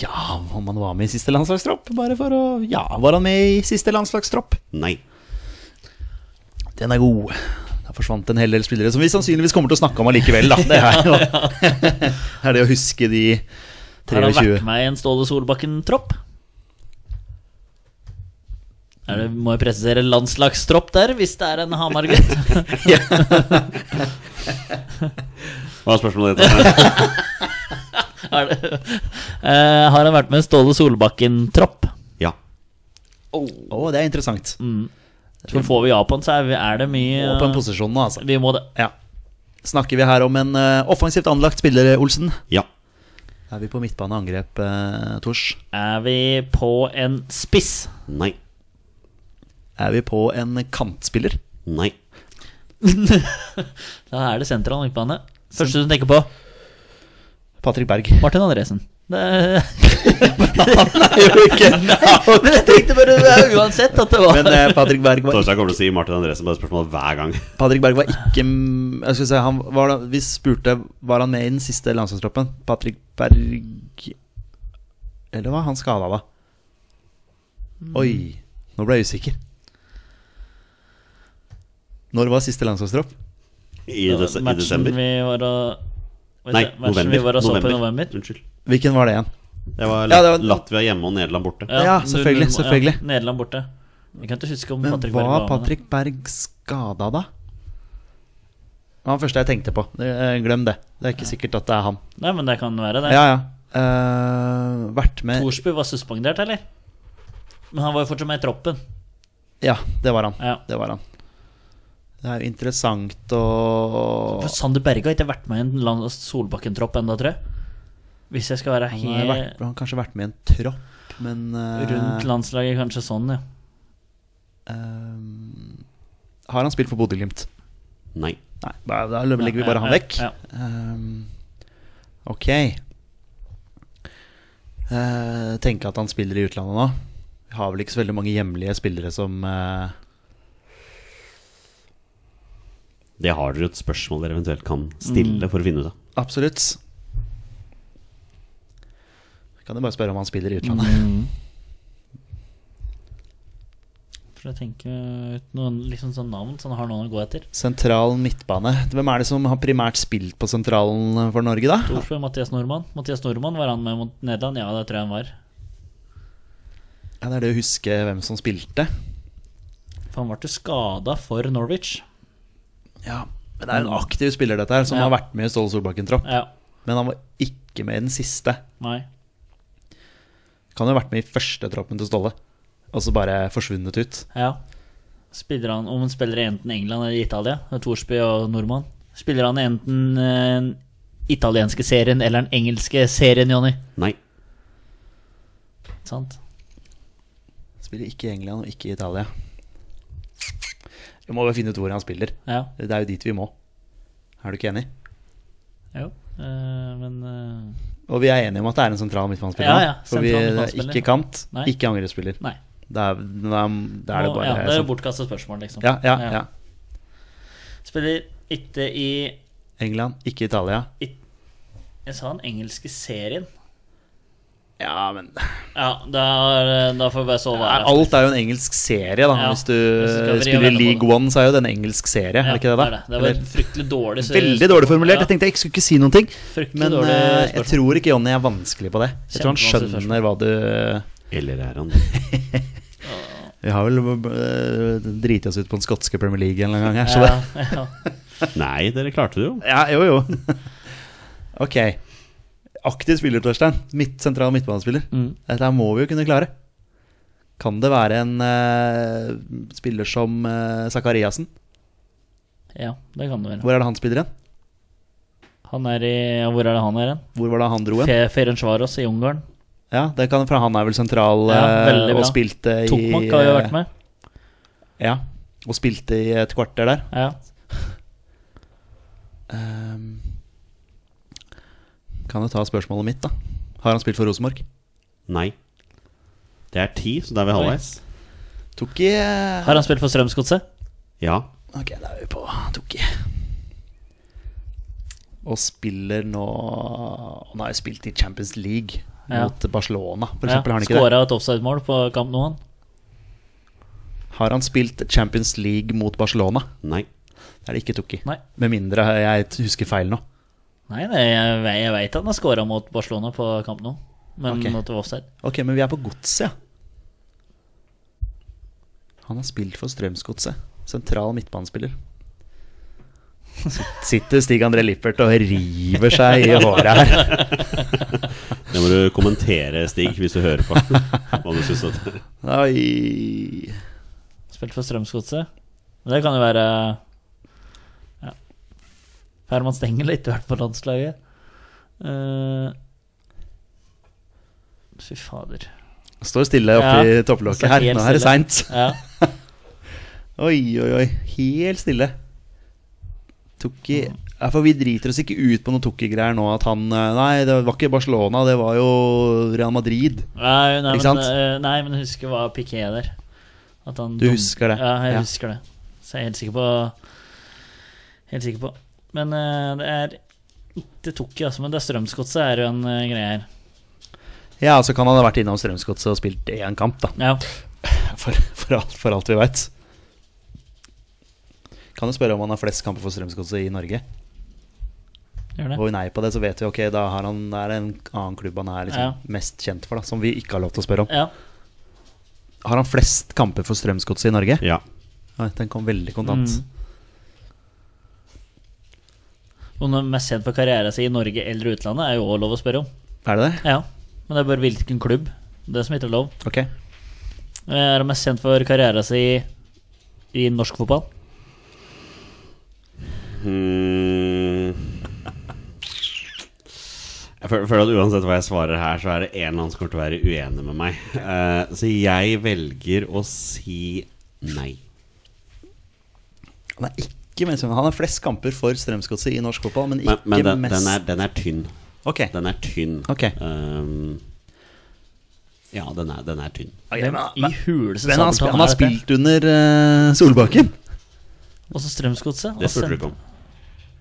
B: ja, om han var med i siste landslagstropp? Bare for å Ja, var han med i siste landslagstropp?
A: Nei.
B: Den er god. Da forsvant en hel del spillere som vi sannsynligvis kommer til å snakke om allikevel, da. Det
D: <laughs>
B: er jo <laughs> er det å huske de
D: Har han vært
B: <laughs> 23
D: med i en Ståle Solbakken-tropp? Er det, må jeg presisere landslagstropp der, hvis det er en Hamar-gutt?
B: <laughs>
A: Hva er spørsmålet ditt?
D: Er det- Eh, har han vært med i en Ståle Solbakken-tropp?
A: Ja.
B: Å, det er interessant.
D: Mm. Så får vi Japan, så er, vi, er det mye
B: Og på en
D: eh,
B: posisjon nå, altså.
D: Vi må det.
B: Ja. Snakker vi her om en eh, offensivt anlagt spiller, eh, Olsen?
A: Ja.
B: Er vi på midtbaneangrep, uh, Tors?
D: Er vi på en spiss?
A: Nei.
B: Er vi på en kantspiller?
A: Nei.
D: Da er det sentral midtbane. Første du tenker på?
B: Patrick Berg. <laughs>
D: Martin Andresen. Det,
B: Jo, ikke.
D: men jeg tenkte bare ja, <laughs> uansett at det var
B: <laughs> Men eh, Patrick Berg var
A: Torstein kommer til å si Martin Andresen på det spørsmålet hver gang. <laughs>
B: Patrick Berg var ikke mm, jeg skulle si, han var, da- Vi spurte var han med i den siste landslagstroppen. Patrick Berg Eller var han skada, da? Oi, nå ble jeg usikker. Når var siste landslagstropp?
A: I, des i
D: matchen
A: desember.
D: vi var og hva
A: Nei,
D: heter det? matchen vi
A: november.
D: var og så på i november.
A: Unnskyld.
B: Hvilken var det igjen?
A: Det var,
B: Ja, det var-
A: Latvia hjemme og Nederland borte.
B: Ja, selvfølgelig,
D: 0-0,
B: selvfølgelig.
D: Ja, Nederland borte. Jeg kan ikke huske om
B: Men
D: Patrick Berg
B: var
D: var med.
B: Patrick Berg skada, da? Det var den første jeg tenkte på. Eh, Glem det. Det er ikke sikkert at det er han.
D: Nei, men det kan være det.
B: Ja, ja. Eh, vært med
D: Thorsby var suspendert, eller? Men han var jo fortsatt med i troppen.
B: Ja, det var han.
D: Ja.
B: Det var han. Det er jo interessant å
D: For Sander Berge har ikke vært med i en land- Solbakken-tropp ennå, tror jeg. Hvis jeg skal være
B: Han har, vært,
D: helt
B: han har kanskje vært med i en tropp, men eh,
D: rundt landslaget, kanskje sånn, ja.
B: eh, Har han spilt for Bodø-Glimt?
A: Nei.
B: Nei, da, da legger vi bare han
D: Ja,
B: vekk.
D: ja,
B: Eh, ok. Uh, tenke at han spiller i utlandet nå. Vi har vel ikke så veldig mange hjemlige spillere som eh,
A: Det har dere jo et spørsmål dere eventuelt
D: Mm.
A: kan stille for å finne ut av.
B: Absolutt. Kan jo bare spørre om han spiller i utlandet.
D: Mm. ja. <laughs> For jeg tenker ut noen liksom sånn navn som han har noen å gå etter.
B: Sentral midtbane. Hvem er det som har primært spilt på sentralen for Norge, da?
D: Thorsby, Mathias Nordmann. Mathias Nordmann, var han med mot Nederland? Ja, det tror jeg han var.
B: Ja, det er det å huske hvem som spilte.
D: For han ble jo skada for Norwich.
B: Ja, men Det er en aktiv spiller, dette her, som
D: Mm. Ja.
B: har vært med i Ståle Solbakken-tropp.
D: Ja,
B: Men han var ikke med i den siste.
D: nei.
B: Kan jo ha vært med i første troppen til Ståle, og så bare forsvunnet ut.
D: Ja. Spiller han, om han spiller i enten England eller Italia, det er Thorsby og nordmann, spiller han i enten eh, den italienske serien eller den engelske serien, Jonny?
A: Nei.
D: Sant?
B: Spiller ikke i England og ikke i Italia. Vi må jo finne ut hvor han spiller.
D: Ja.
B: Det er jo dit vi må. Er du ikke enig?
D: Jo. eh, men eh,
B: Og vi er enige om at det er en sentral midtbanespiller.
D: Ja, ja,
B: For vi
D: sentral
B: er
D: midtbanespiller.
B: ikke kant,
D: Nei.
B: ikke angrepsspiller.
D: Nei.
B: Da er, da er, da er det
D: Nå-
B: bare
D: ja, det er
B: sånn.
D: bortkasta spørsmål, liksom.
B: Ja, ja, ja.
D: Spiller ikke i
B: England, ikke Italia.
D: Jeg sa den engelske serien.
B: Ja, men
D: Ja, da, er- eh, da får vi bare sove her.
B: Alt er jo en engelsk serie, da.
D: Ja,
B: Hvis du
D: hvis du skal vri og
B: spiller
D: vende på
B: League
D: det.
B: One, så er jo det en engelsk serie,
D: Ja,
B: er det ikke det? da?
D: det? Det var
B: Eller-
D: fryktelig dårlig så-
B: Veldig dårlig formulert.
D: Ja,
B: Jeg tenkte jeg skulle ikke si noen ting.
D: eh, fryktelig
B: Men
D: dårlig
B: eh, jeg
D: spørsmål.
B: tror ikke Jonny er vanskelig på det. Jeg tror han
D: Kjempevanskelig
B: skjønner hva du
A: Eller er
D: <laughs>
A: han det?
B: Vi har vel eh, driti oss ut på den skotske Premier League en eller annen gang her, så det
D: ja,
B: <laughs>
D: ja.
A: Nei, dere klarte det jo.
B: Ja, jo, jo. <laughs> ok. Aktiv spiller, Torstein. Midt, sentral midtbanespiller.
D: Mm.
B: Dette her må vi jo kunne klare. Kan det være en eh, spiller som uh, Zakariassen?
D: ja, det kan det være.
B: Hvor er det han spiller hen?
D: Han er i ja, Hvor er det han er hen?
B: Hvor var det han dro hen?
D: Fe- Ferencvaros i Ungarn.
B: Ja, det kan, for han er vel sentral
D: Ja,
B: eh,
D: veldig
B: og
D: bra.
B: spilte i
D: Tokmak har jo vært med.
B: Ja, og spilte i et kvarter der.
D: Ja.
B: Ehm, kan jo ta spørsmålet mitt, da. Har han spilt for Rosenborg?
A: Nei. Det er ti, så da er vi halvveis.
B: Tok i eh,
D: Har han spilt for Strømsgodset?
A: Ja.
B: Ok, da er vi på Toki. Og spiller nå Han har jo spilt i Champions League
D: Ja.
B: mot Barcelona, for
D: Ja.
B: eksempel. Har han ikke det?
D: Skåra et offside-mål på kamp nå, han.
B: Har han spilt Champions League mot Barcelona?
A: Nei.
B: Det er det ikke Toki.
D: Nei.
B: Med mindre jeg husker feil nå.
D: Nei, nei jeg, ve- jeg veit han har skåra mot Barcelona på kamp nå, men
B: Ok.
D: at det var offside.
B: Ok, men vi er på Godset, ja. Han har spilt for Strømsgodset. Sentral midtbanespiller. Sitt- Sitter Stig-André Lippert og river seg i håret her.
A: Det må du kommentere, Stig, hvis du
D: <laughs>
A: hører på. Hva du synes at
B: Oi.
D: Spilt for Strømsgodset. Men det kan jo være Ja. Herman Stengel har ikke vært på landslaget. Eh, fy fader.
B: Står stille oppi
D: Ja,
B: topplokket
D: står
B: her.
D: helt
B: Nå er det
D: stille.
B: seint.
D: Ja.
B: Oi, oi, oi. Helt stille. Tok i Ja, for Vi driter oss ikke ut på noen Tukki-greier nå at han eh, Nei, det var ikke Barcelona, det var jo Real Madrid.
D: Nei, nei,
B: Ikke
D: men,
B: sant?
D: eh, nei, men jeg husker hva Piqué der. At han
B: Du
D: dum-
B: husker det?
D: Ja, jeg
B: Ja.
D: husker det. Så jeg er helt sikker på Helt sikker på. Men eh, det er Det tok ikke, altså. Men det er Strømsgodset er jo en eh, greie her.
B: Ja, så kan han ha vært innom Strømsgodset og spilt én kamp, da.
D: Ja.
B: For, for, alt, for alt vi veit. Kan jo spørre om han har flest kamper for Strømsgodset i Norge.
D: Gjør det.
B: Får vi nei på det, så vet vi ok, da har han, det er en annen klubb han er liksom
D: Ja.
B: mest kjent for, da, som vi ikke har lov til å spørre om.
D: Ja.
B: Har han flest kamper for Strømsgodset i Norge?
A: Ja.
B: Nei, den kom veldig kontant.
D: Mm. Noen av de mest kjent for karrieren sin i Norge eller utlandet er jo også lov å spørre om.
B: Er det det?
D: Ja. Men det er bare hvilken klubb. Det som ikke er lov.
B: Ok.
D: Eh, Er han mest kjent for karrieren sin i norsk fotball?
A: Hmm. Jeg føler, føler at uansett hva jeg svarer her, så er det en eller annen som kommer til å være uenig med meg. Eh, så jeg velger å si nei.
B: Han er ikke mest Han har flest kamper for Strømsgodset i norsk fotball, men
A: Men,
B: ikke
A: men den,
B: mest
A: den, er, den er tynn.
B: Ok.
A: Den er tynn.
B: Ok.
A: Um, ja, den er, den er tynn.
B: Ok,
D: Hvem
B: men-
D: i huleste
B: Men han,
D: sabeltann
B: sp- han har
D: er dette?
B: spilt under eh, Solbakken.
D: Og så Strømsgodset.
A: Det
D: og
A: spurte du
D: sendt-
A: ikke om.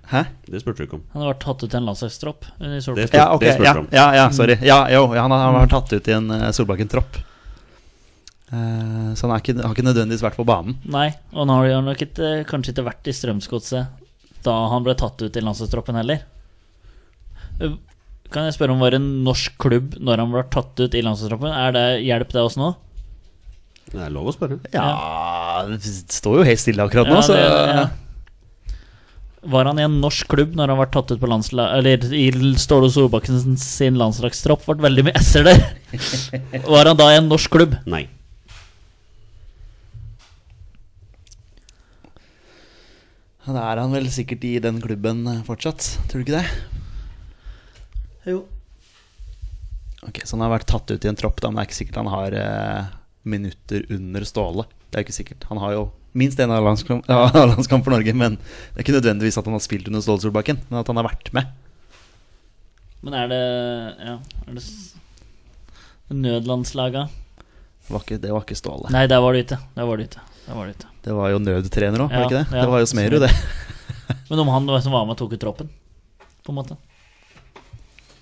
B: Hæ?
A: Det spurte du ikke om.
D: Han har vært tatt ut i en landslagstropp. i Solbakken.
A: Det spurte,
B: Ja, ok.
A: det spurte
B: Ja,
A: du om.
B: ja, ja sorry. Ja, jo, ja, han, har, han har tatt ut i en eh, Solbakken-tropp. Eh, så han er ikke, har ikke nødvendigvis vært på banen.
D: Nei, og han har jo nok ikke, eh, kanskje ikke vært i Strømsgodset da han ble tatt ut i landslagstroppen heller. Uh, Kan jeg spørre om var det en norsk klubb når han ble tatt ut i landslagstroppen? Er det hjelp det oss nå?
A: Det er lov å spørre.
B: Ja, Ah, det står jo helt stille akkurat nå,
D: Ja,
B: så
D: det- ja. Var han i en norsk klubb når han ble tatt ut på landslag... Eller i Ståle Solbakken sin landslagstropp? Ble veldig mye s-er
B: <laughs>
D: der. Var han da i en norsk klubb?
A: Nei.
B: Da er han vel sikkert i den klubben eh, fortsatt, tror du ikke det?
D: Jo.
B: Ok, Så han har vært tatt ut i en tropp, da, men det er ikke sikkert han har eh, minutter under Ståle. Det er jo ikke sikkert. Han har jo minst én A-landskamp ja, landskamp <laughs> for Norge, men det er ikke nødvendigvis at han har spilt under Ståle Solbakken, men at han har vært med.
D: Men er det Ja, er det s- Nødlandslaga?
B: Det var ikke, det var ikke Ståle.
D: Nei, der var du ikke. Der var du ikke. Der var du ikke.
B: Det var jo nødtrener òg, var
D: Ja,
B: det ikke det?
D: ja.
B: Det var jo Smerud, det.
D: Men om han som var med, tok ut troppen, på en måte.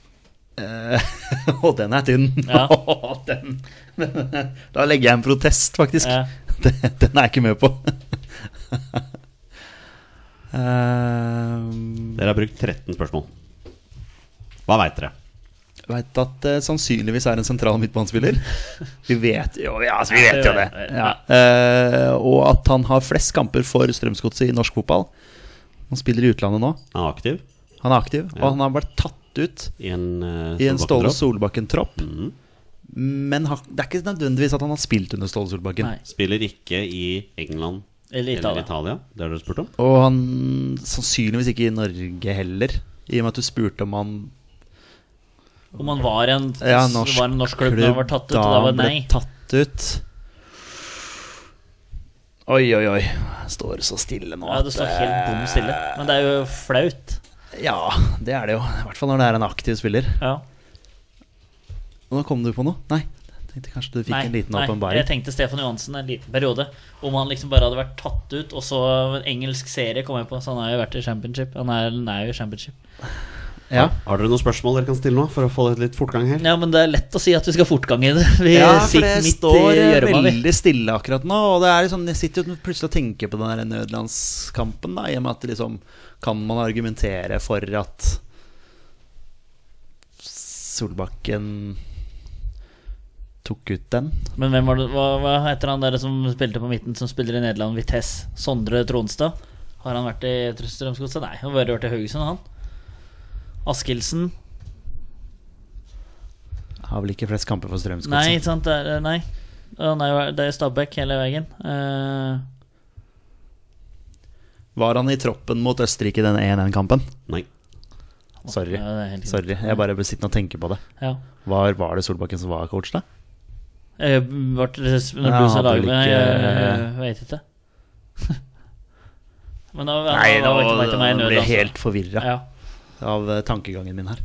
B: <laughs> Å, Eh, den er tynn!
D: Ja.
B: <laughs> Å, den. Da legger jeg en protest, faktisk.
D: Ja.
B: <laughs> Den, den er jeg ikke med på. <laughs> Um,
A: Dere har brukt 13 spørsmål. Hva veit dere?
B: Veit at det sannsynligvis er en sentral midtbanespiller. Vi vet jo, ja, altså, vi vet jo det. Ja. Eh, og at han har flest kamper for Strømsgodset i norsk fotball. Han spiller i utlandet nå.
A: Han er aktiv
B: Han er aktiv, og
A: Ja.
B: han har vært tatt ut
A: i en uh,
B: i en Ståle
A: Solbakken-tropp.
B: Solbakken-tropp.
A: Mhm.
B: Men har, det er ikke nødvendigvis at han har spilt under Ståle Solbakken.
D: Nei.
A: Spiller ikke i England
D: Eller
A: eller
D: Italia.
A: Italia. Det har dere spurt om.
B: Og han sannsynligvis ikke i Norge heller, i og med at du spurte om han
D: Om han var en,
B: Ja, norsk
D: norsk, var en norsk klubb da han var tatt ut, og da var
B: han
D: det
B: ble
D: nei.
B: tatt ut. Oi, oi, oi. Står så stille nå.
D: Ja, det
B: at,
D: står helt
B: eh,
D: bom stille. Men det er jo flaut.
B: Ja, det er det jo. I hvert fall når det er en aktiv spiller.
D: Ja.
B: Og nå kom du på noe? Nei. Jeg tenkte kanskje du fikk en liten
D: jeg
B: åpenbaring.
D: tenkte Stefan Johansen en liten periode. Om han liksom bare hadde vært tatt ut, og så en engelsk serie kom jeg på, så han har jo vært i championship. Han er, han er jo i championship.
B: Ja.
A: Har dere noen spørsmål dere kan stille nå for å få litt fortgang her?
D: Ja, men det er lett å si at vi skal ha fortgang i det. <laughs> Vi
B: Ja, for
D: sitter
B: det
D: midt i
B: står eh,
D: gjørma, vi.
B: veldig stille akkurat nå. Og det er liksom, jeg sitter jo plutselig og tenker på den der nødlandskampen, da, i og med at liksom, kan man argumentere for at Solbakken tok ut den?
D: Men hvem var det, hva, hva heter han der som spilte på midten, som spiller i Nederland, Vitesse? Sondre Tronstad? Har han vært i Trø- Strømsgodset? Nei, han har bare vært i Haugesund, han. Askildsen?
B: Har vel ikke flest kamper for Strømsgodset?
D: Nei, ikke sant? Det er, nei. Han er jo- Det er Stabæk hele veien. Eh,
B: Var han i troppen mot Østerrike i den 1-1-kampen?
A: Nei.
B: Sorry.
D: ja, det er helt
B: Sorry. Jeg bare ble sittende og tenke på det.
D: ja.
B: Var, var det Solbakken som var coach, da?
D: Jeg ble, når
B: Ja,
D: du sa
B: han hadde
D: lag,
B: vel
D: men jeg,
B: ikke-
D: jeg vet ikke. <laughs> Men da, Nei, da, var ikke meg til meg i
B: nå
D: nød,
B: ble jeg
D: altså.
B: helt forvirra
D: ja.
B: av eh, tankegangen min her.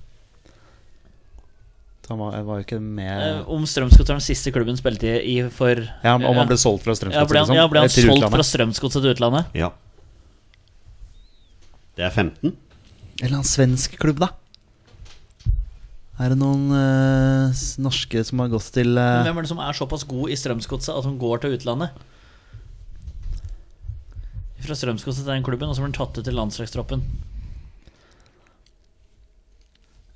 B: Så Han var, jeg var jo ikke
D: Eh,
B: med
D: Om Strømsgodset var den siste klubben spilte i for
B: ja, Om
D: ja.
B: han ble solgt fra
D: ja,
B: Strømsgodset,
D: ble han,
B: liksom?
D: ja, ble han
B: Til
D: solgt
B: utlandet.
D: fra Strømsgodset til utlandet?
A: Ja. Det er 15.
B: Eller en svensk klubb, da? Er det noen eh, s- norske som har gått til eh,
D: Hvem er det som er såpass god i Strømsgodset at hun går til utlandet? Fra Strømsgodset til den klubben, og så blir hun tatt ut til landslagstroppen.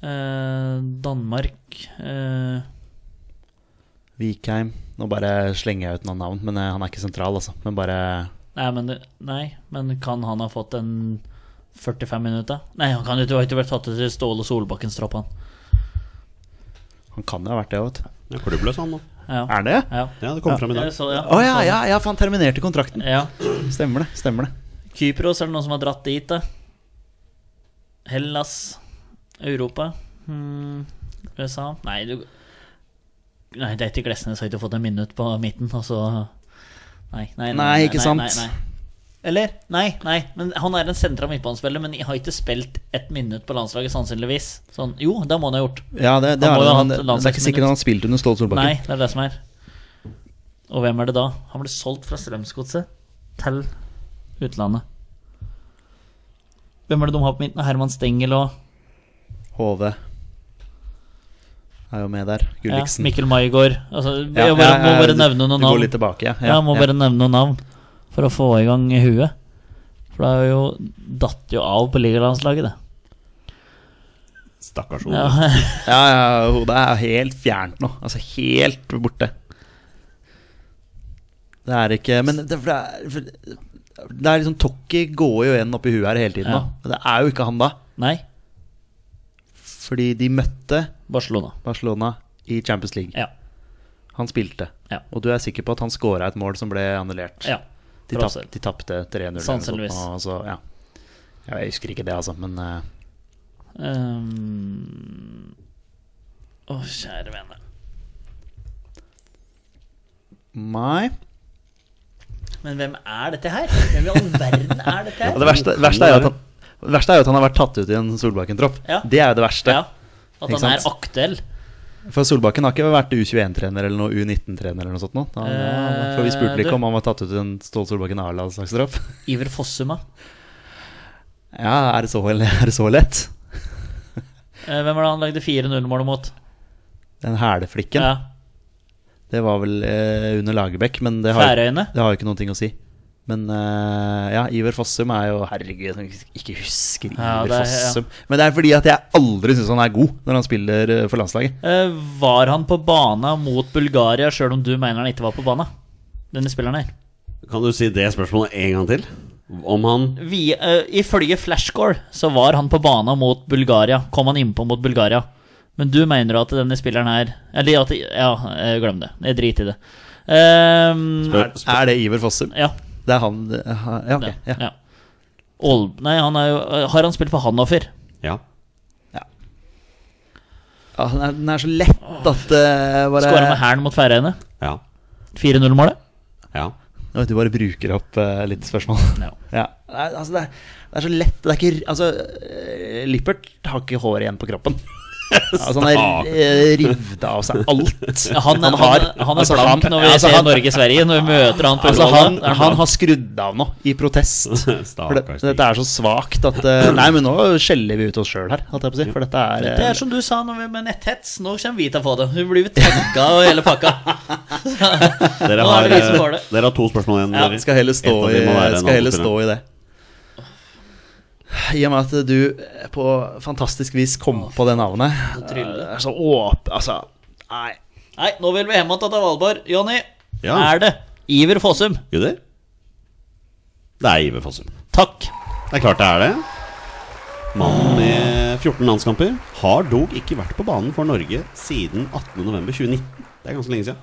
D: Eh, Danmark eh,
B: Vikheim? Nå bare slenger jeg ut noen navn, men eh, han er ikke sentral, altså. Men bare
D: nei, men, det- nei, men kan han ha fått en 45 minutter? Nei, han kan jo ikke- har ikke vært tatt ut til Ståle Solbakkens tropp, han.
B: Han kan jo ha vært det, vet du.
A: Det er klubbløs, han nå.
D: Ja.
B: Er det?
D: ja.
A: Ja, det kom fram i dag.
D: Jeg så det, ja.
B: Å ja, ja, ja, for han terminerte kontrakten.
D: ja.
B: Stemmer det. stemmer det
D: Kypros er det noen som har dratt dit, da. Hellas. Europa. Hmm. USA. Nei, du Nei, det er ikke Glesnes har ikke fått en minutt på midten, og så Nei, nei, nei,
B: Nei, ikke sant.
D: nei, nei. Eller? Nei, nei. Men han er en sentra midtbanespiller, men har ikke spilt ett minutt på landslaget, sannsynligvis. Sånn, jo, det må han ha gjort.
B: Ja, det, det,
D: Han
B: er,
D: må jo
B: det,
D: ha
B: han, det
D: hatt
B: er ikke sikkert
D: landslagsminutt.
B: han har spilt under Ståle Solbakken.
D: Nei, det er det som er. Og hvem er det da? Han ble solgt fra Strømsgodset til utlandet. Hvem er det de har på midten? Herman Stengel og
B: HV er jo med der.
D: ja,
B: Gulliksen.
D: Mikkel Maigård. Altså,
B: Ja,
D: jeg bare,
B: ja,
D: må
B: ja,
D: bare
B: du-
D: nevne noen
B: Du går
D: navn.
B: litt tilbake, ja.
D: Ja, må bare nevne noen navn for å få i gang i huet. For det er jo datt jo av på ligalandslaget, det.
A: Stakkars
D: Ja, <laughs>
A: Ole.
B: ja, ja, hodet er helt fjernt nå. Altså helt borte. Det er ikke Men det, for det er for, Det er liksom Tokki går jo en oppi huet her hele tiden
D: Ja.
B: nå. Men det er jo ikke han da.
D: Nei,
B: Fordi de møtte
D: Barcelona.
B: Barcelona i Champions League.
D: Ja.
B: Han spilte.
D: Ja.
B: Og du er sikker på at han scora et mål som ble annullert?
D: ja.
B: De
D: for
B: tap-
D: offside.
B: de tapte 3-0. eller noe sånt
D: Sannsynligvis.
B: nå, og så- ja. Ja, Jeg husker ikke det, altså. Men eh,
D: Ehm, Å, kjære vene.
B: Nei.
D: Men hvem er dette her? Hvem i all verden er dette
B: Ja,
D: her?
B: <laughs> det verste, verste, er jo at han, det verste er jo at han har vært tatt ut i en Solbakken-tropp.
D: Ja.
B: Det er jo det verste.
D: Ja, at
B: Ikke
D: han er
B: sant?
D: aktuell.
B: For Solbakken har ikke vært U21-trener eller noe U19-trener eller noe sånt nå. Da,
D: Eh,
B: for vi spurte
D: du-
B: ikke om han var tatt ut i en Ståle Solbakken A-landslagstropp. <laughs>
D: Iver Fossuma.
B: Ja, er det så, er det så lett?
D: Eh, Hvem var det han lagde 4-0-målet mot?
B: Den hæleflikken.
D: Ja.
B: Det var vel eh, under Lagerbäck, men det har,
D: Færøyene.
B: det har jo ikke noen ting å si. Men eh, ja, Iver Fossum er jo Herregud, jeg ikke husker Iver
D: Ja, det er- ja.
B: Fossum. Men det er fordi at jeg aldri syns han er god når han spiller eh, for landslaget.
D: Eh, Var han på bana mot Bulgaria, sjøl om du mener han ikke var på bana? Denne spilleren her.
A: Kan du si det spørsmålet en gang til? Om han
D: Vi, eh, ifølge Flashcore så var han på bana mot Bulgaria. Kom han innpå mot Bulgaria. Men du mener at denne spilleren her Eller at Ja, eh, glem det. Jeg driter i det. Ehm,
A: Spør- spør-
B: Er det Iver Fossum?
D: ja,
B: Det er han det- ha- Ja, ok.
D: det,
B: Ja.
D: ja. Ål- nei, han er jo, eh, har han spilt for Hanoffer?
A: Ja.
B: Ja, den, er, den er så lett at eh, bare,
D: Skåra med hælen mot Færøyene.
A: Ja.
D: 4-0-målet.
A: Ja. <laughs>
B: Nå vet Du bare bruker opp eh, litt spørsmål.
D: Ja.
B: <laughs> Ja. Nei, altså, det, er, det er så lett. Det er ikke, altså, eh, Lippert har ikke hår igjen på
D: <laughs>
B: kroppen. Altså, han er eh, revet av seg
D: <laughs>
B: alt.
D: Han, han, han, er
B: altså,
D: blank
B: han-
D: når vi
B: altså,
D: ser
B: han-
D: Norge-Sverige, når vi møter han på
B: Altså, han,
D: Ullevål. Er sånn- han
B: han
D: blank?
B: har skrudd av nå, i protest. For det,
A: Stakkars
B: dette er så svakt at <clears throat> eh, Nei, men nå skjeller vi ut oss sjøl her, holdt jeg på å si. For dette er,
D: Det
B: eh,
D: er som du sa når vi med netthets. Nå kommer vi til å få det. Vi blir tagga og hele pakka.
A: Dere
B: <laughs>
D: Nå
A: har,
D: er det vi som får
A: eh,
D: det.
A: dere har to spørsmål igjen. dere.
B: Skal heller stå,
A: Et av
B: i,
A: dem må være en
B: skal heller stå
A: annen
B: i det. I og med at du eh, på fantastisk vis kom på det navnet eh,
D: tryller.
B: er Så åp... Altså, nei.
D: Nei, nå vil vi hjem igjen til Valborg. Jonny,
A: Ja.
D: er det Iver Fossum?
A: spiller. Gutter? Det er Iver Fossum.
D: Takk.
A: Det er klart det er det. Mannen med 14 landskamper har dog ikke vært på banen for Norge siden 18.11.2019. Det er ganske lenge siden.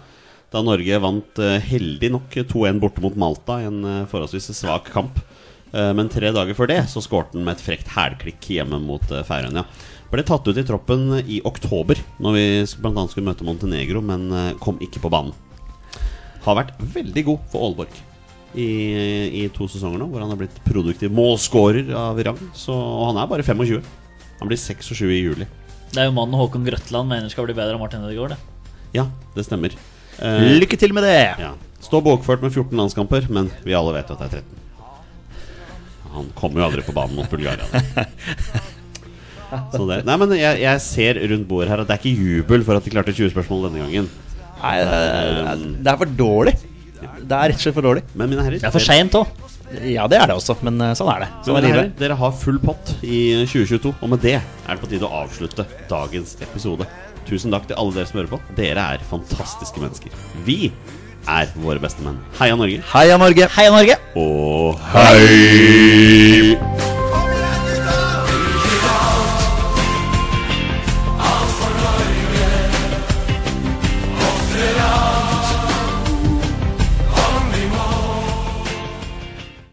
A: Da Norge vant eh, heldig nok 2-1 borte mot Malta i en eh, forholdsvis svak kamp. Eh, Men tre dager før det så skårte han med et frekt hælklikk hjemme mot eh, Færøyene. Ble tatt ut i troppen i oktober, når vi bl.a. skulle møte Montenegro, men eh, kom ikke på banen. Har vært veldig god for Aalborg. i, i to sesonger nå, hvor han har blitt produktiv målscorer av rang. Så, og han er bare 25. Han blir 26 i juli.
D: Det er jo mannen Håkon Grøtland mener skal bli bedre enn Martin Ødegaard. det.
A: Ja, det stemmer. Eh,
B: Lykke til med det!
A: ja. Står bokført med 14 landskamper, men vi alle vet jo at det er 13. Han kommer jo aldri på banen mot Bulgaria. da. Så det. Nei, men jeg, jeg ser rundt bordet her at det er ikke jubel for at de klarte 20 spørsmål denne gangen.
B: Nei, det er- det er for dårlig. Det er rett og slett for dårlig.
A: Men mine herrer,
D: Det er for
A: dere-
D: seint òg.
B: Ja, det er det også, men eh, sånn er det. Sånn
A: Men
B: er
A: mine
B: livet.
A: herrer, dere har full pott i 2022, og med det er det på tide å avslutte dagens episode. Tusen takk til alle dere som hører på. Dere er fantastiske mennesker. Vi er våre beste menn. Heia Norge.
B: Heia Norge!
D: Heia Norge!
A: Og hei!